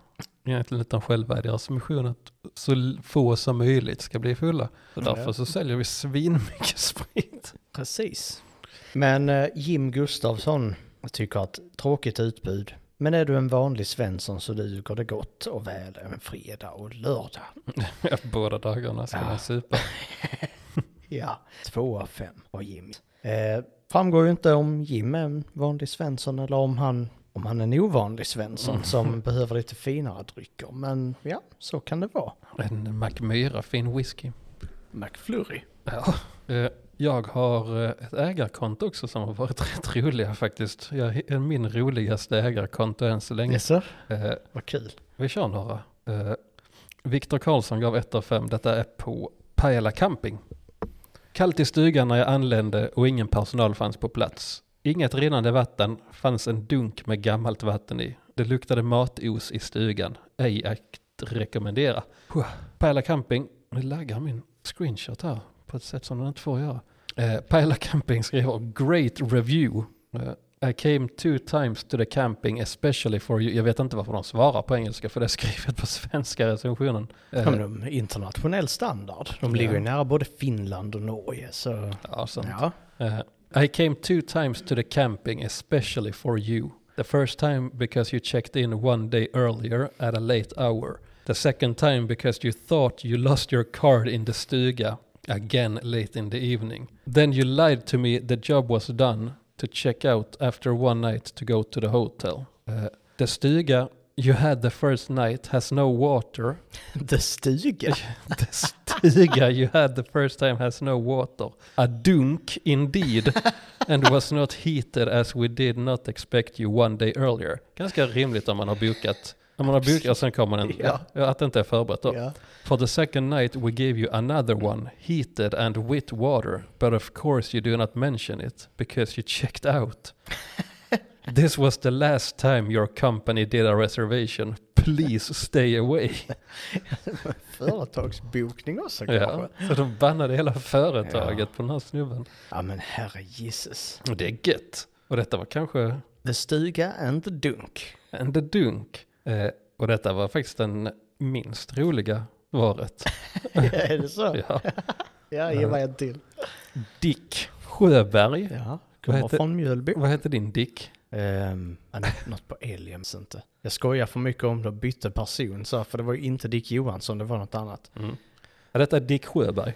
Enligt dem själva är deras mission att så l- få som möjligt ska bli fulla. Så
Ja.
därför så säljer vi svinmycket sprit.
Precis. Men eh, Jim Gustafsson tycker att tråkigt utbud. Men är du en vanlig svensson så duger det gott och väl en fredag och lördag.
Båda dagarna ska
Ja.
man supa.
Ja, två av fem var Jim. Eh, framgår ju inte om Jim är en vanlig svensson eller om han, om han är en ovanlig svensson som behöver lite finare drycker. Men ja, så kan det vara.
En Macmyra, fin whisky.
McFlurry.
Ja. Eh, Jag har eh, ett ägarkonto också som har varit rätt roliga faktiskt. Jag är min roligaste ägarkonto än så länge.
Jaså?
Eh,
Vad kul.
Vi kör några. Eh, Viktor Karlsson gav 1 av 5. Detta är på Pajala camping. Kallt i stugan när jag anlände och ingen personal fanns på plats. Inget rinnande vatten, fanns en dunk med gammalt vatten i. Det luktade matos i stugan, ej att rekommendera. Huh. Pajala camping, nu laggar min screenshot här på ett sätt som den inte får göra. Eh, Pajala camping skriver great review. Eh, i came two times to the camping especially for you. Jag vet inte varför de svarar på engelska för det är skrivet på svenska recensionen. Eh,
Ja, men de är internationell standard. De ligger ju nära både Finland och Norge. Så
ja, sant.
ja,
Eh, I came two times to the camping especially for you. The first time because you checked in one day earlier at a late hour. The second time because you thought you lost your card in the stuga again late in the evening. Then you lied to me the job was done to check out after one night to go to the hotel. Uh, the stuga you had the first night has no water.
The stuga?
the stuga you had the first time has no water. A dunk indeed. and was not heated as we did not expect you one day earlier. Ganska rimligt om man har bokat. Om man har bokat och sen kommer den.
Ja.
Ja, att det inte är förberett då.
Ja.
For the second night we gave you another one, heated and with water, but of course you do not mention it because you checked out. this was the last time your company did a reservation. Please stay away.
Företagsbokning också kanske?
ja, så de bannade hela företaget på den här snubben.
Ja men herre Jesus.
Och det är gött. Och detta var kanske
The stuga and the dunk.
en dunk. Eh, och detta var faktiskt den minst roliga varet.
är det så?
Ja.
Ja, ge mig en till.
Dick Sjöberg.
Ja,
Vad
kommer
heter-
från Mjölby.
Vad heter din Dick?
Um, något på Aliens inte. Jag skojar för mycket om det och bytte person så, för det var ju inte Dick Johansson, det var något annat.
Mm. Ja, Detta är Dick Sjöberg.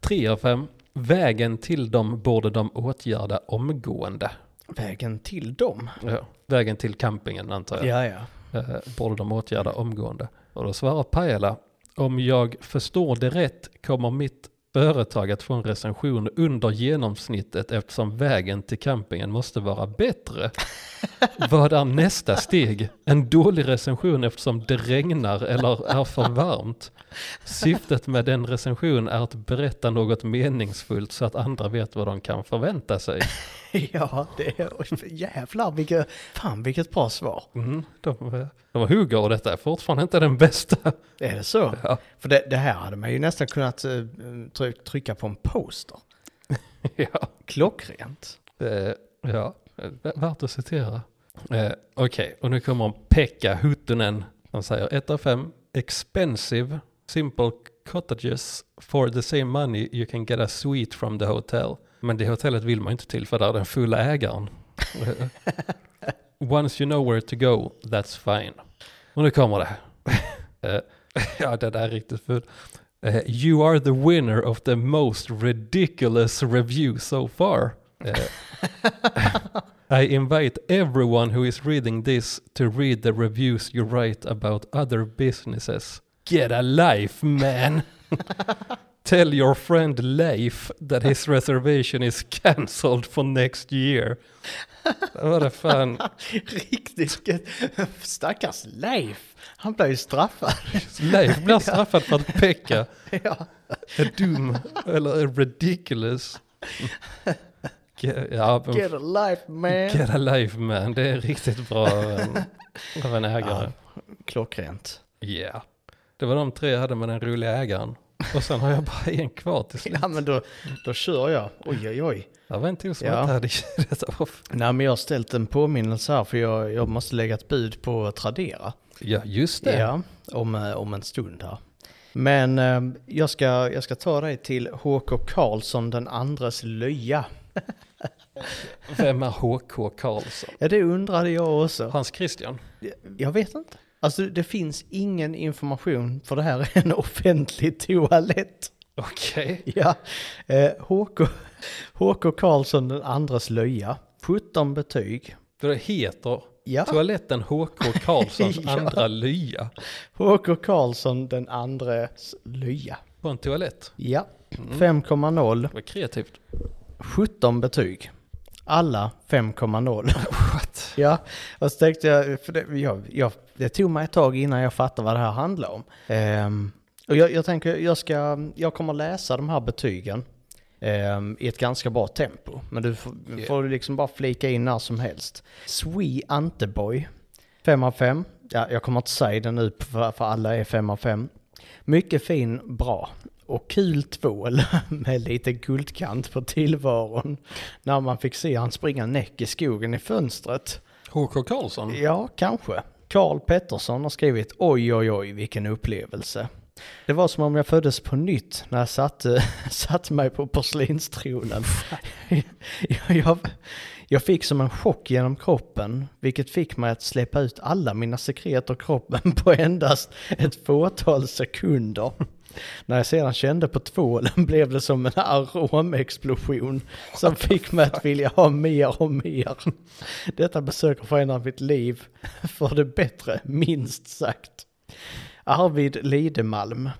3 av 5. Vägen till dem borde de åtgärda omgående.
Vägen till dem.
Ja. Vägen till campingen antar jag.
Ja, ja.
Eh, borde de åtgärda omgående. Och då svarar Pajala. Om jag förstår det rätt kommer mitt företag att få en recension under genomsnittet eftersom vägen till campingen måste vara bättre. Vad är nästa steg? En dålig recension eftersom det regnar eller är för varmt. Syftet med den recension är att berätta något meningsfullt så att andra vet vad de kan förvänta sig.
ja, det är... oj, Jävlar, vilket... Fan, vilket bra svar.
Mm, de, eh, de hugger och detta är fortfarande inte den bästa.
Är det så?
Ja.
För det, det här hade man ju nästan kunnat eh, try- trycka på en poster.
ja.
Klockrent.
Eh, ja, eh, värt att citera. Eh, Okej, och nu kommer Pekka Huttunen. Han säger 1 av 5. Expensive, simple cottages for the same money you can get a suite from the hotel. Men det hotellet vill man inte till för där är den fulla ägaren. Eh, Once you know where to go, that's fine. Och nu kommer det. Eh, ja, det där är riktigt fult. Eh, you are the winner of the most ridiculous review so far. Eh, I invite everyone who is reading this to read the reviews you write about other businesses. Get a life, man! Tell your friend Leif that his reservation is cancelled for next year. Vad det fan,
Riktigt gött. Stackars Leif. Han blev ju straffad.
Leif blir straffad för att Pekka
ja.
är dum eller är ridiculous. Ge- Ja, men
Get a life man.
get a life man, det är riktigt bra av en, av en ägare.
Klockrent.
Ja. Det var de tre jag hade med den roliga ägaren. Och sen har jag bara en kvar till slut.
Ja men då, då kör jag. Oj oj oj.
Det var en till som
Ja.
jag inte hade i detta off.
Nej men jag har ställt en påminnelse här för jag, jag måste lägga ett bud på Tradera.
Ja, just det.
Ja, om, eh, om en stund här. Men eh, jag ska, jag ska ta dig till HK Karlsson den andres löja.
Vem är HK Karlsson?
Ja det undrade jag också.
Hans Christian?
Jag vet inte. Alltså det finns ingen information för det här är en offentlig toalett.
Okej.
Ja, eh, HK, HK Karlsson den andres löja. 17 betyg.
Det heter
Ja.
toaletten HK Karlssons
Ja.
andra lya
HK Karlsson den andres lya.
på en toalett.
Ja, 5,0,
Det var kreativt.
17 betyg. Alla 5,0. Ja, och så tänkte jag, för det, jag, jag, det tog mig ett tag innan jag fattade vad det här handlade om. Ehm, och jag, jag tänker, jag, ska, jag kommer läsa de här betygen ehm, i ett ganska bra tempo. Men du får,
Yeah.
får du liksom bara flika in när som helst. Swe Anteboy, 5 av 5. Ja, jag kommer inte säga det nu för, för alla är 5 av 5. Mycket fin, bra. Och kul tvål med lite guldkant på tillvaron. När man fick se han springa näck i skogen i fönstret.
HK Karlsson?
Ja, kanske. Karl Pettersson har skrivit oj, oj, oj, vilken upplevelse. Det var som om jag föddes på nytt när jag satte, satte mig på porslinstronen. jag, jag, jag fick som en chock genom kroppen, vilket fick mig att släppa ut alla mina sekreter i kroppen på endast ett fåtal sekunder. När jag sedan kände på tvålen blev det som en aromexplosion som fick mig att vilja ha mer och mer. Detta besök har förändrat mitt liv för det bättre, minst sagt. Arvid Lidemalm.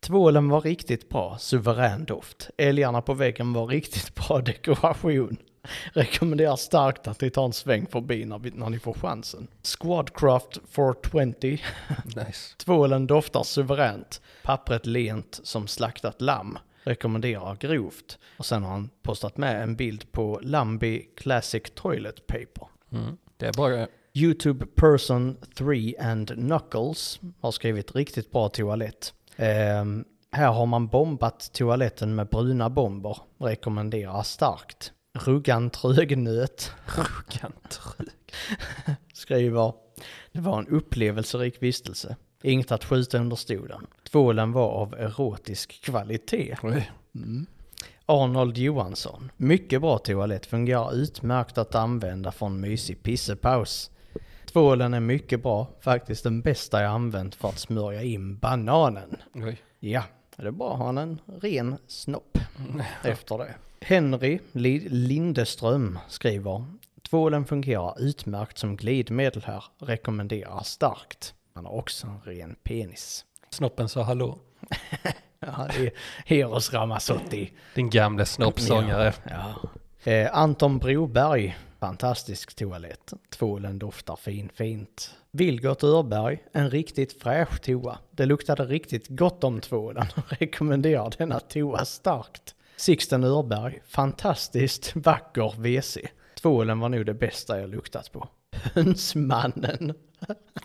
Tvålen var riktigt bra, suverän doft. Älgarna på väggen var riktigt bra dekoration. Rekommenderar starkt att ni tar en sväng förbi när, vi, när ni får chansen. Squadcraft 420.
Nice.
Tvålen doftar suveränt. Pappret lent som slaktat lamm. Rekommenderar grovt. Och sen har han postat med en bild på Lambi Classic Toilet Paper.
Mm. Det är bara
YouTube person 3 and Knuckles har skrivit riktigt bra toalett. Ehm, här har man bombat toaletten med bruna bomber. Rekommenderar starkt. Ruggan Trögnöt
ruggantryck.
skriver Det var en upplevelserik vistelse. Inget att skjuta under stolen. Tvålen var av erotisk kvalitet.
Oj.
Mm. Arnold Johansson. Mycket bra toalett, fungerar utmärkt att använda för en mysig pissepaus. Tvålen är mycket bra, faktiskt den bästa jag använt för att smörja in bananen.
Oj.
Ja, det är bra att ha en ren snopp efter det. Henry Li- Lindeström skriver Tvålen fungerar utmärkt som glidmedel här, rekommenderar starkt. Han har också en ren penis.
Snoppen sa hallå.
Ja, det är Eros Ramazzotti.
Din gamle snoppsångare.
Ja. Eh, Anton Broberg, fantastisk toalett. Tvålen doftar fin, fint. Vilgot Örberg, en riktigt fräsch toa. Det luktade riktigt gott om tvålen och rekommenderar denna toa starkt. Sixten Örberg, fantastiskt vacker WC. Tvålen var nog det bästa jag luktat på. Hönsmannen.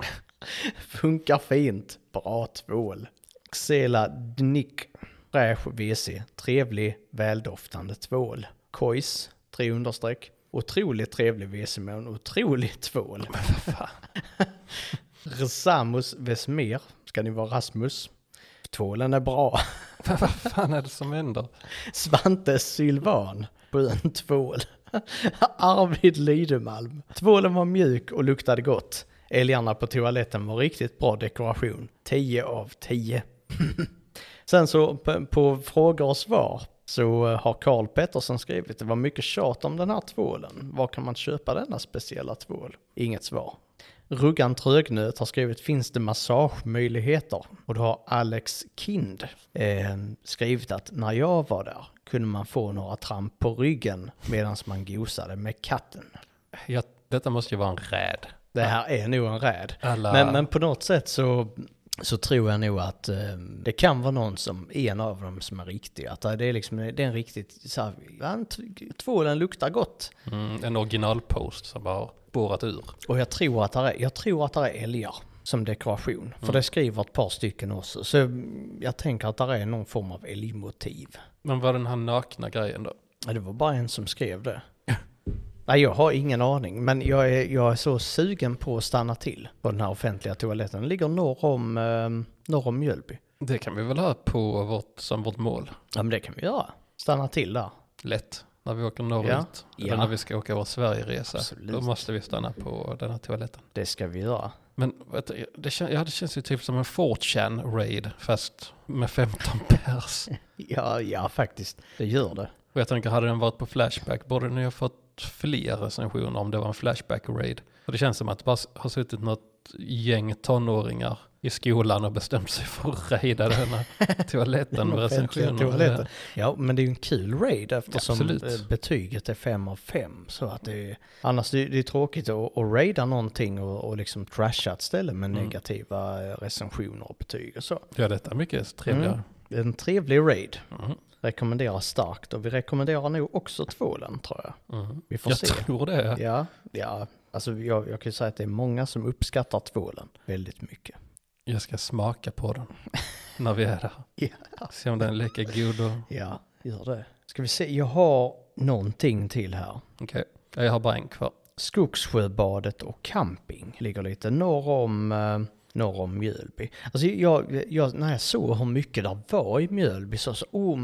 Funkar fint. Bra tvål. Xela Dnick. Fräsch WC. Trevlig, väldoftande tvål. Kojs. Tre understreck. Otroligt trevlig WC med en otrolig tvål. Rsamus Vesmer. Ska ni vara Rasmus? Tvålen är bra.
Vad fan är det som händer?
Svante Sylvan på en tvål. Arvid Lidemalm. Tvålen var mjuk och luktade gott. Älgarna på toaletten var riktigt bra dekoration. 10 av 10. Sen så på, på frågor och svar så har Karl Pettersson skrivit det var mycket tjat om den här tvålen. Var kan man köpa denna speciella tvål? Inget svar. Ruggan Trögnöt har skrivit finns det massagemöjligheter? Och då har Alex Kind eh, skrivit att när jag var där kunde man få några tramp på ryggen medan man gosade med katten.
Jag, detta måste ju vara en räd.
Det här är nog en räd.
Alla...
Men, men på något sätt så, så tror jag nog att eh, det kan vara någon som, en av dem som är riktig. Att det är liksom, det är en riktigt, så här, "Ja, t- tvålen luktar gott.
Mm, en originalpost som har borrat ur.
Och jag tror att det är, jag tror att det är älgar som dekoration. För det skriver ett par stycken också. Så mm, jag tänker att det är någon form av älgmotiv.
Men var den här nakna grejen då?
Ja, det var bara en som skrev det. Nej, jag har ingen aning, men jag är, jag är så sugen på att stanna till på den här offentliga toaletten. Den ligger norr om, eh, norr om Mjölby.
Det kan vi väl ha på vårt, som vårt mål.
Ja, men det kan vi göra. Stanna till där.
Lätt. När vi åker norrut.
Ja.
Eller
Ja.
när vi ska åka vår Sverigeresa.
Absolut.
Då måste vi stanna på den här toaletten.
Det ska vi göra.
Men vet du, det, kän, ja, det känns ju typ som en 4chan raid fast med 15 pers.
Ja, ja faktiskt. Det gör det.
Och jag tänker, hade den varit på Flashback borde den ju ha fått fler recensioner om det var en Flashback-raid. För det känns som att det bara har suttit något gäng tonåringar i skolan och bestämt sig för att raida den här toaletten med
Offentliga
recensioner.
toaletten. Ja, men det är ju en kul raid eftersom
Absolut.
eh, betyget är fem av fem Så att det är, annars det, det är tråkigt att, att raida någonting och, och liksom trasha ett ställe med
Mm.
negativa eh, recensioner och betyg och så.
Ja, detta är mycket trevligare.
Det är En trevlig raid.
Mm.
Rekommenderar starkt och vi rekommenderar nog också tvålen tror jag.
Mm.
Vi får
Jag
se.
tror det.
Ja, ja. Alltså jag, jag kan ju säga att det är många som uppskattar tvålen väldigt mycket.
Jag ska smaka på den när vi är där.
Ja.
Se om den är lika god. Och...
Ja, gör det. Ska vi se, jag har någonting till här.
Okej, Ja, jag har bara en kvar.
Skogssjöbadet och camping ligger lite norr om, eh, norr om Mjölby. Alltså jag, jag, när jag såg hur mycket det var i Mjölby så så, oh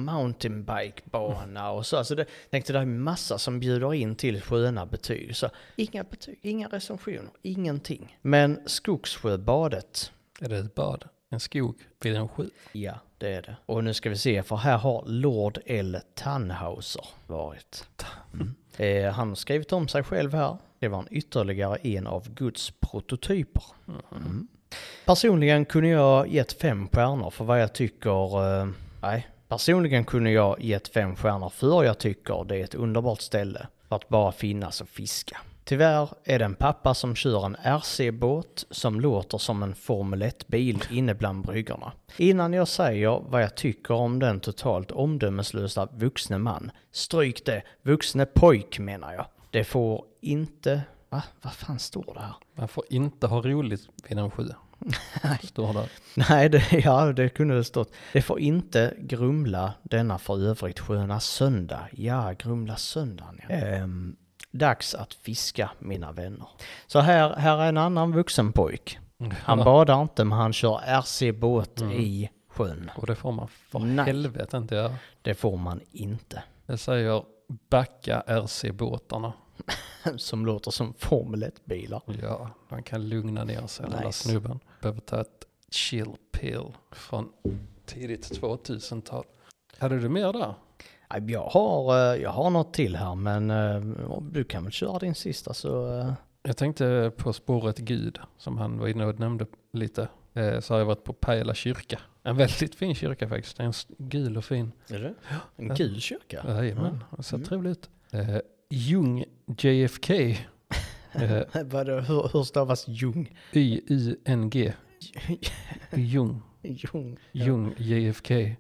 mountainbikebana och så. Alltså det, tänkte det är massa som bjuder in till sköna betyg. Så, inga betyg, inga recensioner, ingenting. Men Skogssjöbadet,
Är det ett bad? En skog vid en sjö?
ja det är det. Och nu ska vi se, för här har Lord L. Tannhauser varit. Mm. Eh, han har skrivit om sig själv här. Det var en ytterligare en av Guds prototyper. Mm. Personligen kunde jag gett fem stjärnor för vad jag tycker... Eh, nej, personligen kunde jag gett fem stjärnor för jag tycker det är ett underbart ställe för att bara finnas och fiska. Tyvärr är det en pappa som kör en RC-båt som låter som en Formel 1-bil inne bland bryggorna. Innan jag säger vad jag tycker om den totalt omdömeslösa vuxne man, stryk det, vuxne pojk menar jag. Det får inte... Va? Vad fan står det här?
Man får inte ha roligt vid en sjö. Står där.
Nej, det, ja, det kunde det stått. Det får inte grumla denna för övrigt sköna söndag. Ja, grumla söndagen. Ja. Ehm, dags att fiska, mina vänner. Så här, här är en annan vuxen pojk. Han badar inte, men han kör RC-båt i sjön.
Och det får man för
Nej.
helvete inte göra.
Det får man inte.
Det säger backa RC-båtarna.
Som låter som Formel 1-bilar.
Ja, man kan lugna ner sig den där
Nice.
snubben. Behöver ta ett chill pill från tidigt 2000-tal. Hade du mer där?
Nej, Jag har, eh, jag har något till här, men eh, du kan väl köra din sista så... eh,
Jag tänkte på spåret Gud som han var inne och nämnde lite. Eh, Så har jag varit på Pajala kyrka. En väldigt fin kyrka faktiskt. Den är s- gul och fin.
Är det? En gul kyrka?
Jajamän, det ser trevligt ut. Eh, Jung JFK. Eh,
Vadå, hur, hur stavas Jung?
Y-U-N-G. Jung.
Jung?
Jung JFK.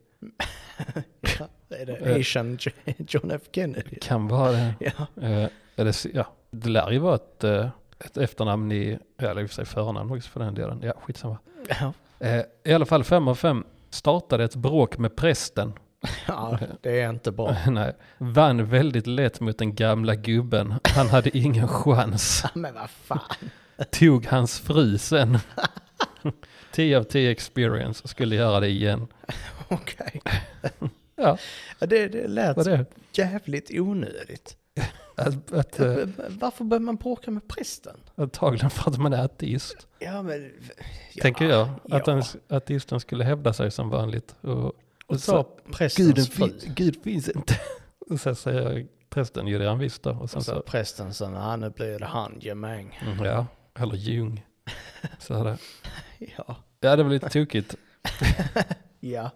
Ja, är
Eh.
det Asian J- John F Kennedy?
Kan vara det.
Ja.
Eh, eller, s- ja, det lär ju vara ett, eh, ett efternamn i, eller i och för sig förnamn också för den delen. Ja, skitsamma.
Ja.
Eh, I alla fall fem av fem startade ett bråk med prästen.
ja, det är inte bra.
Nej, vann väldigt lätt mot den gamla gubben. Han hade ingen chans.
Ja, Men vad fan.
Tog hans fru sen. 10 av 10 experience skulle göra det igen.
Okej.
Ja,
Ja, Det, det lät
vad är det?
jävligt onödigt.
Att, att, eh,
Varför bör man bråka med prästen?
antagligen för att man är ateist.
Ja, men... Ja,
tänker jag. Att
ja.
den, ateisten skulle hävda sig som vanligt. Och,
Och
så-
ta prästens fru.
Gud finns inte. Och sen säger prästen ju det han visste. Och sen
Och så
så,
prästen sen, ja nu blir det han, gemäng.
mm, ja, eller Jung. Så hade,
Ja.
ja, det var lite tokigt.
Ja.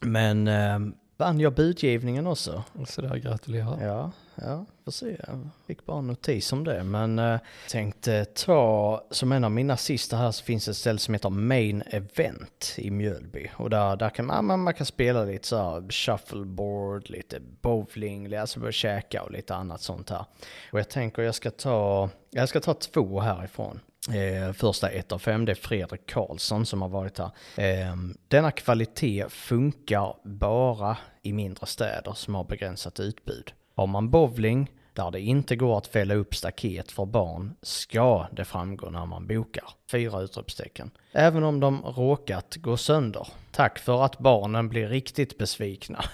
Men ehm, vann jag budgivningen också?
Så där gratulerar.
Ja, ja, får se. Jag fick bara en notis om det. Men eh, tänkte ta, som en av mina sista här så finns ett ställe som heter Main Event i Mjölby. Och där, där kan man, man- man kan spela lite så här shuffleboard, lite bowling, alltså börja käka och lite annat sånt här. Och jag tänker jag ska ta, jag ska ta två härifrån. Eh, första ett av fem, det är Fredrik Karlsson som har varit här. Eh, denna kvalitet funkar bara i mindre städer som har begränsat utbud. Har man bowling, där det inte går att fälla upp staket för barn, ska det framgå när man bokar. Fyra utropstecken. Även om de råkat gå sönder. Tack för att barnen blir riktigt besvikna.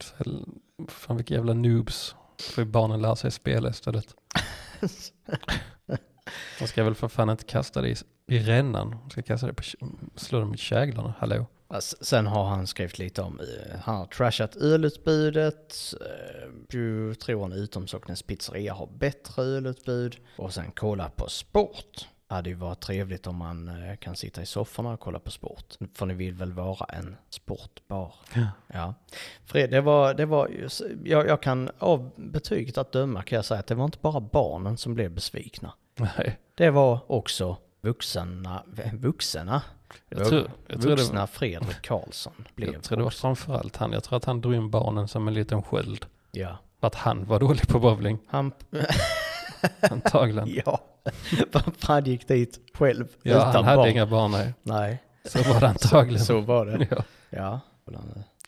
Så, fan vilka jävla noobs. För barnen lär sig spela istället. De ska väl för fan inte kasta det i, i rännan. De ska kasta det på, slå dem i käglarna. Hallå.
Alltså, Sen har han skrivit lite om, eh, han har trashat ölutbudet, eh, du tror en utomsocknes pizzeria har bättre ölutbud och sen kolla på sport. Hade ju varit trevligt om man eh, kan sitta i sofforna och kolla på sport. För ni vill väl vara en sportbar?
Ja.
Ja. Fred, det var, det var ju- jag, jag kan av betyget att döma kan jag säga att det var inte bara barnen som blev besvikna.
Nej.
Det var också vuxna, vuxna,
Jag tror, jag tror det,
vuxna Fredrik Karlsson blev.
Jag tror det var framförallt han. Jag tror att han drog in barnen som en liten sköld.
Ja.
För att han var dålig på bowling,
Han,
antagligen.
ja, varför han gick dit själv
ja,
utan
han hade
barn?
inga barn, nej.
Nej,
Så var det antagligen.
så var det.
Ja.
Ja.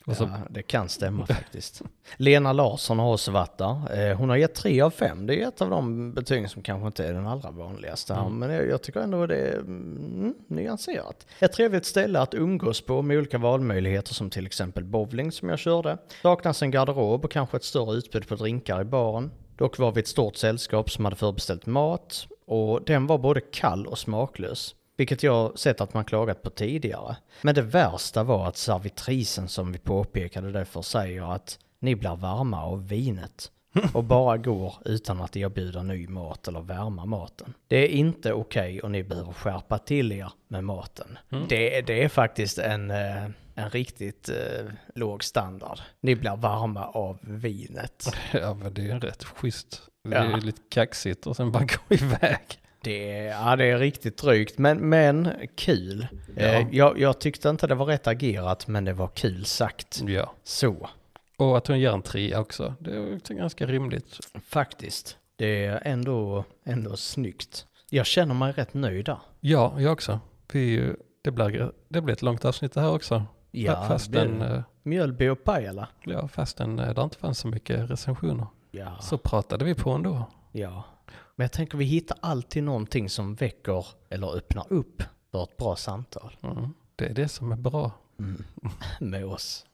Och så,
Ja, det kan stämma faktiskt. Lena Larsson har också varit där. Eh, Hon har gett tre av fem. Det är ett av de betygen som kanske inte är den allra vanligaste. här, Men jag, jag tycker ändå det är mm, nyanserat. Ett trevligt ställe att umgås på med olika valmöjligheter som till exempel bowling som jag körde. Saknas en garderob och kanske ett större utbud på drinkar i baren. Dock var vi ett stort sällskap som hade förbeställt mat och den var både kall och smaklös. Vilket jag sett att man klagat på tidigare. Men det värsta var att servitrisen som vi påpekade det för säger att ni blir varma av vinet. Och bara går utan att erbjuda ny mat eller värma maten. Det är inte okej och ni behöver skärpa till er med maten. Det, det är faktiskt en, eh, en riktigt eh, låg standard. Ni blir varma av vinet.
ja men det är ju rätt schysst. Det
Ja.
är ju lite kaxigt och sen bara gå iväg.
Det, är- ja, det är riktigt drygt, men, men kul. Eh, jag, jag tyckte inte det var rätt agerat, men det var kul sagt.
Ja.
Så,
Och att hon ger en trea också. Det är också ganska rimligt.
faktiskt. Det är ändå, ändå snyggt. Jag känner mig rätt nöjd där.
Ja, jag också. Vi, är ju- det, blir, det blir ett långt avsnitt det här också.
Ja,
fast
det-
den, eh,
Mjölby och Pajala.
ja, fastän eh, det inte fanns så mycket recensioner.
Ja,
Så pratade vi på ändå.
ja. Men jag tänker vi hittar alltid någonting som väcker eller öppnar upp för ett bra samtal
Mm. Det är det som är bra.
med oss.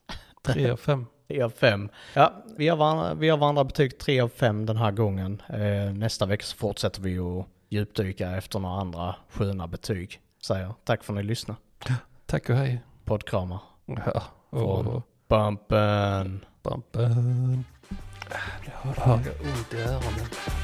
Tre av fem.
3 Mm. av 5. Ja, vi har, varandra, vi har varandra betyg 3 av 5 den här gången. Eh, nästa vecka så fortsätter vi att djupdyka efter några andra sköna betyg. Säger tack för att ni lyssnade.
Tack och hej.
Poddkramar.
Ja.
Från-
Och
Bumpen.
bampen. Jag har ont i öronen.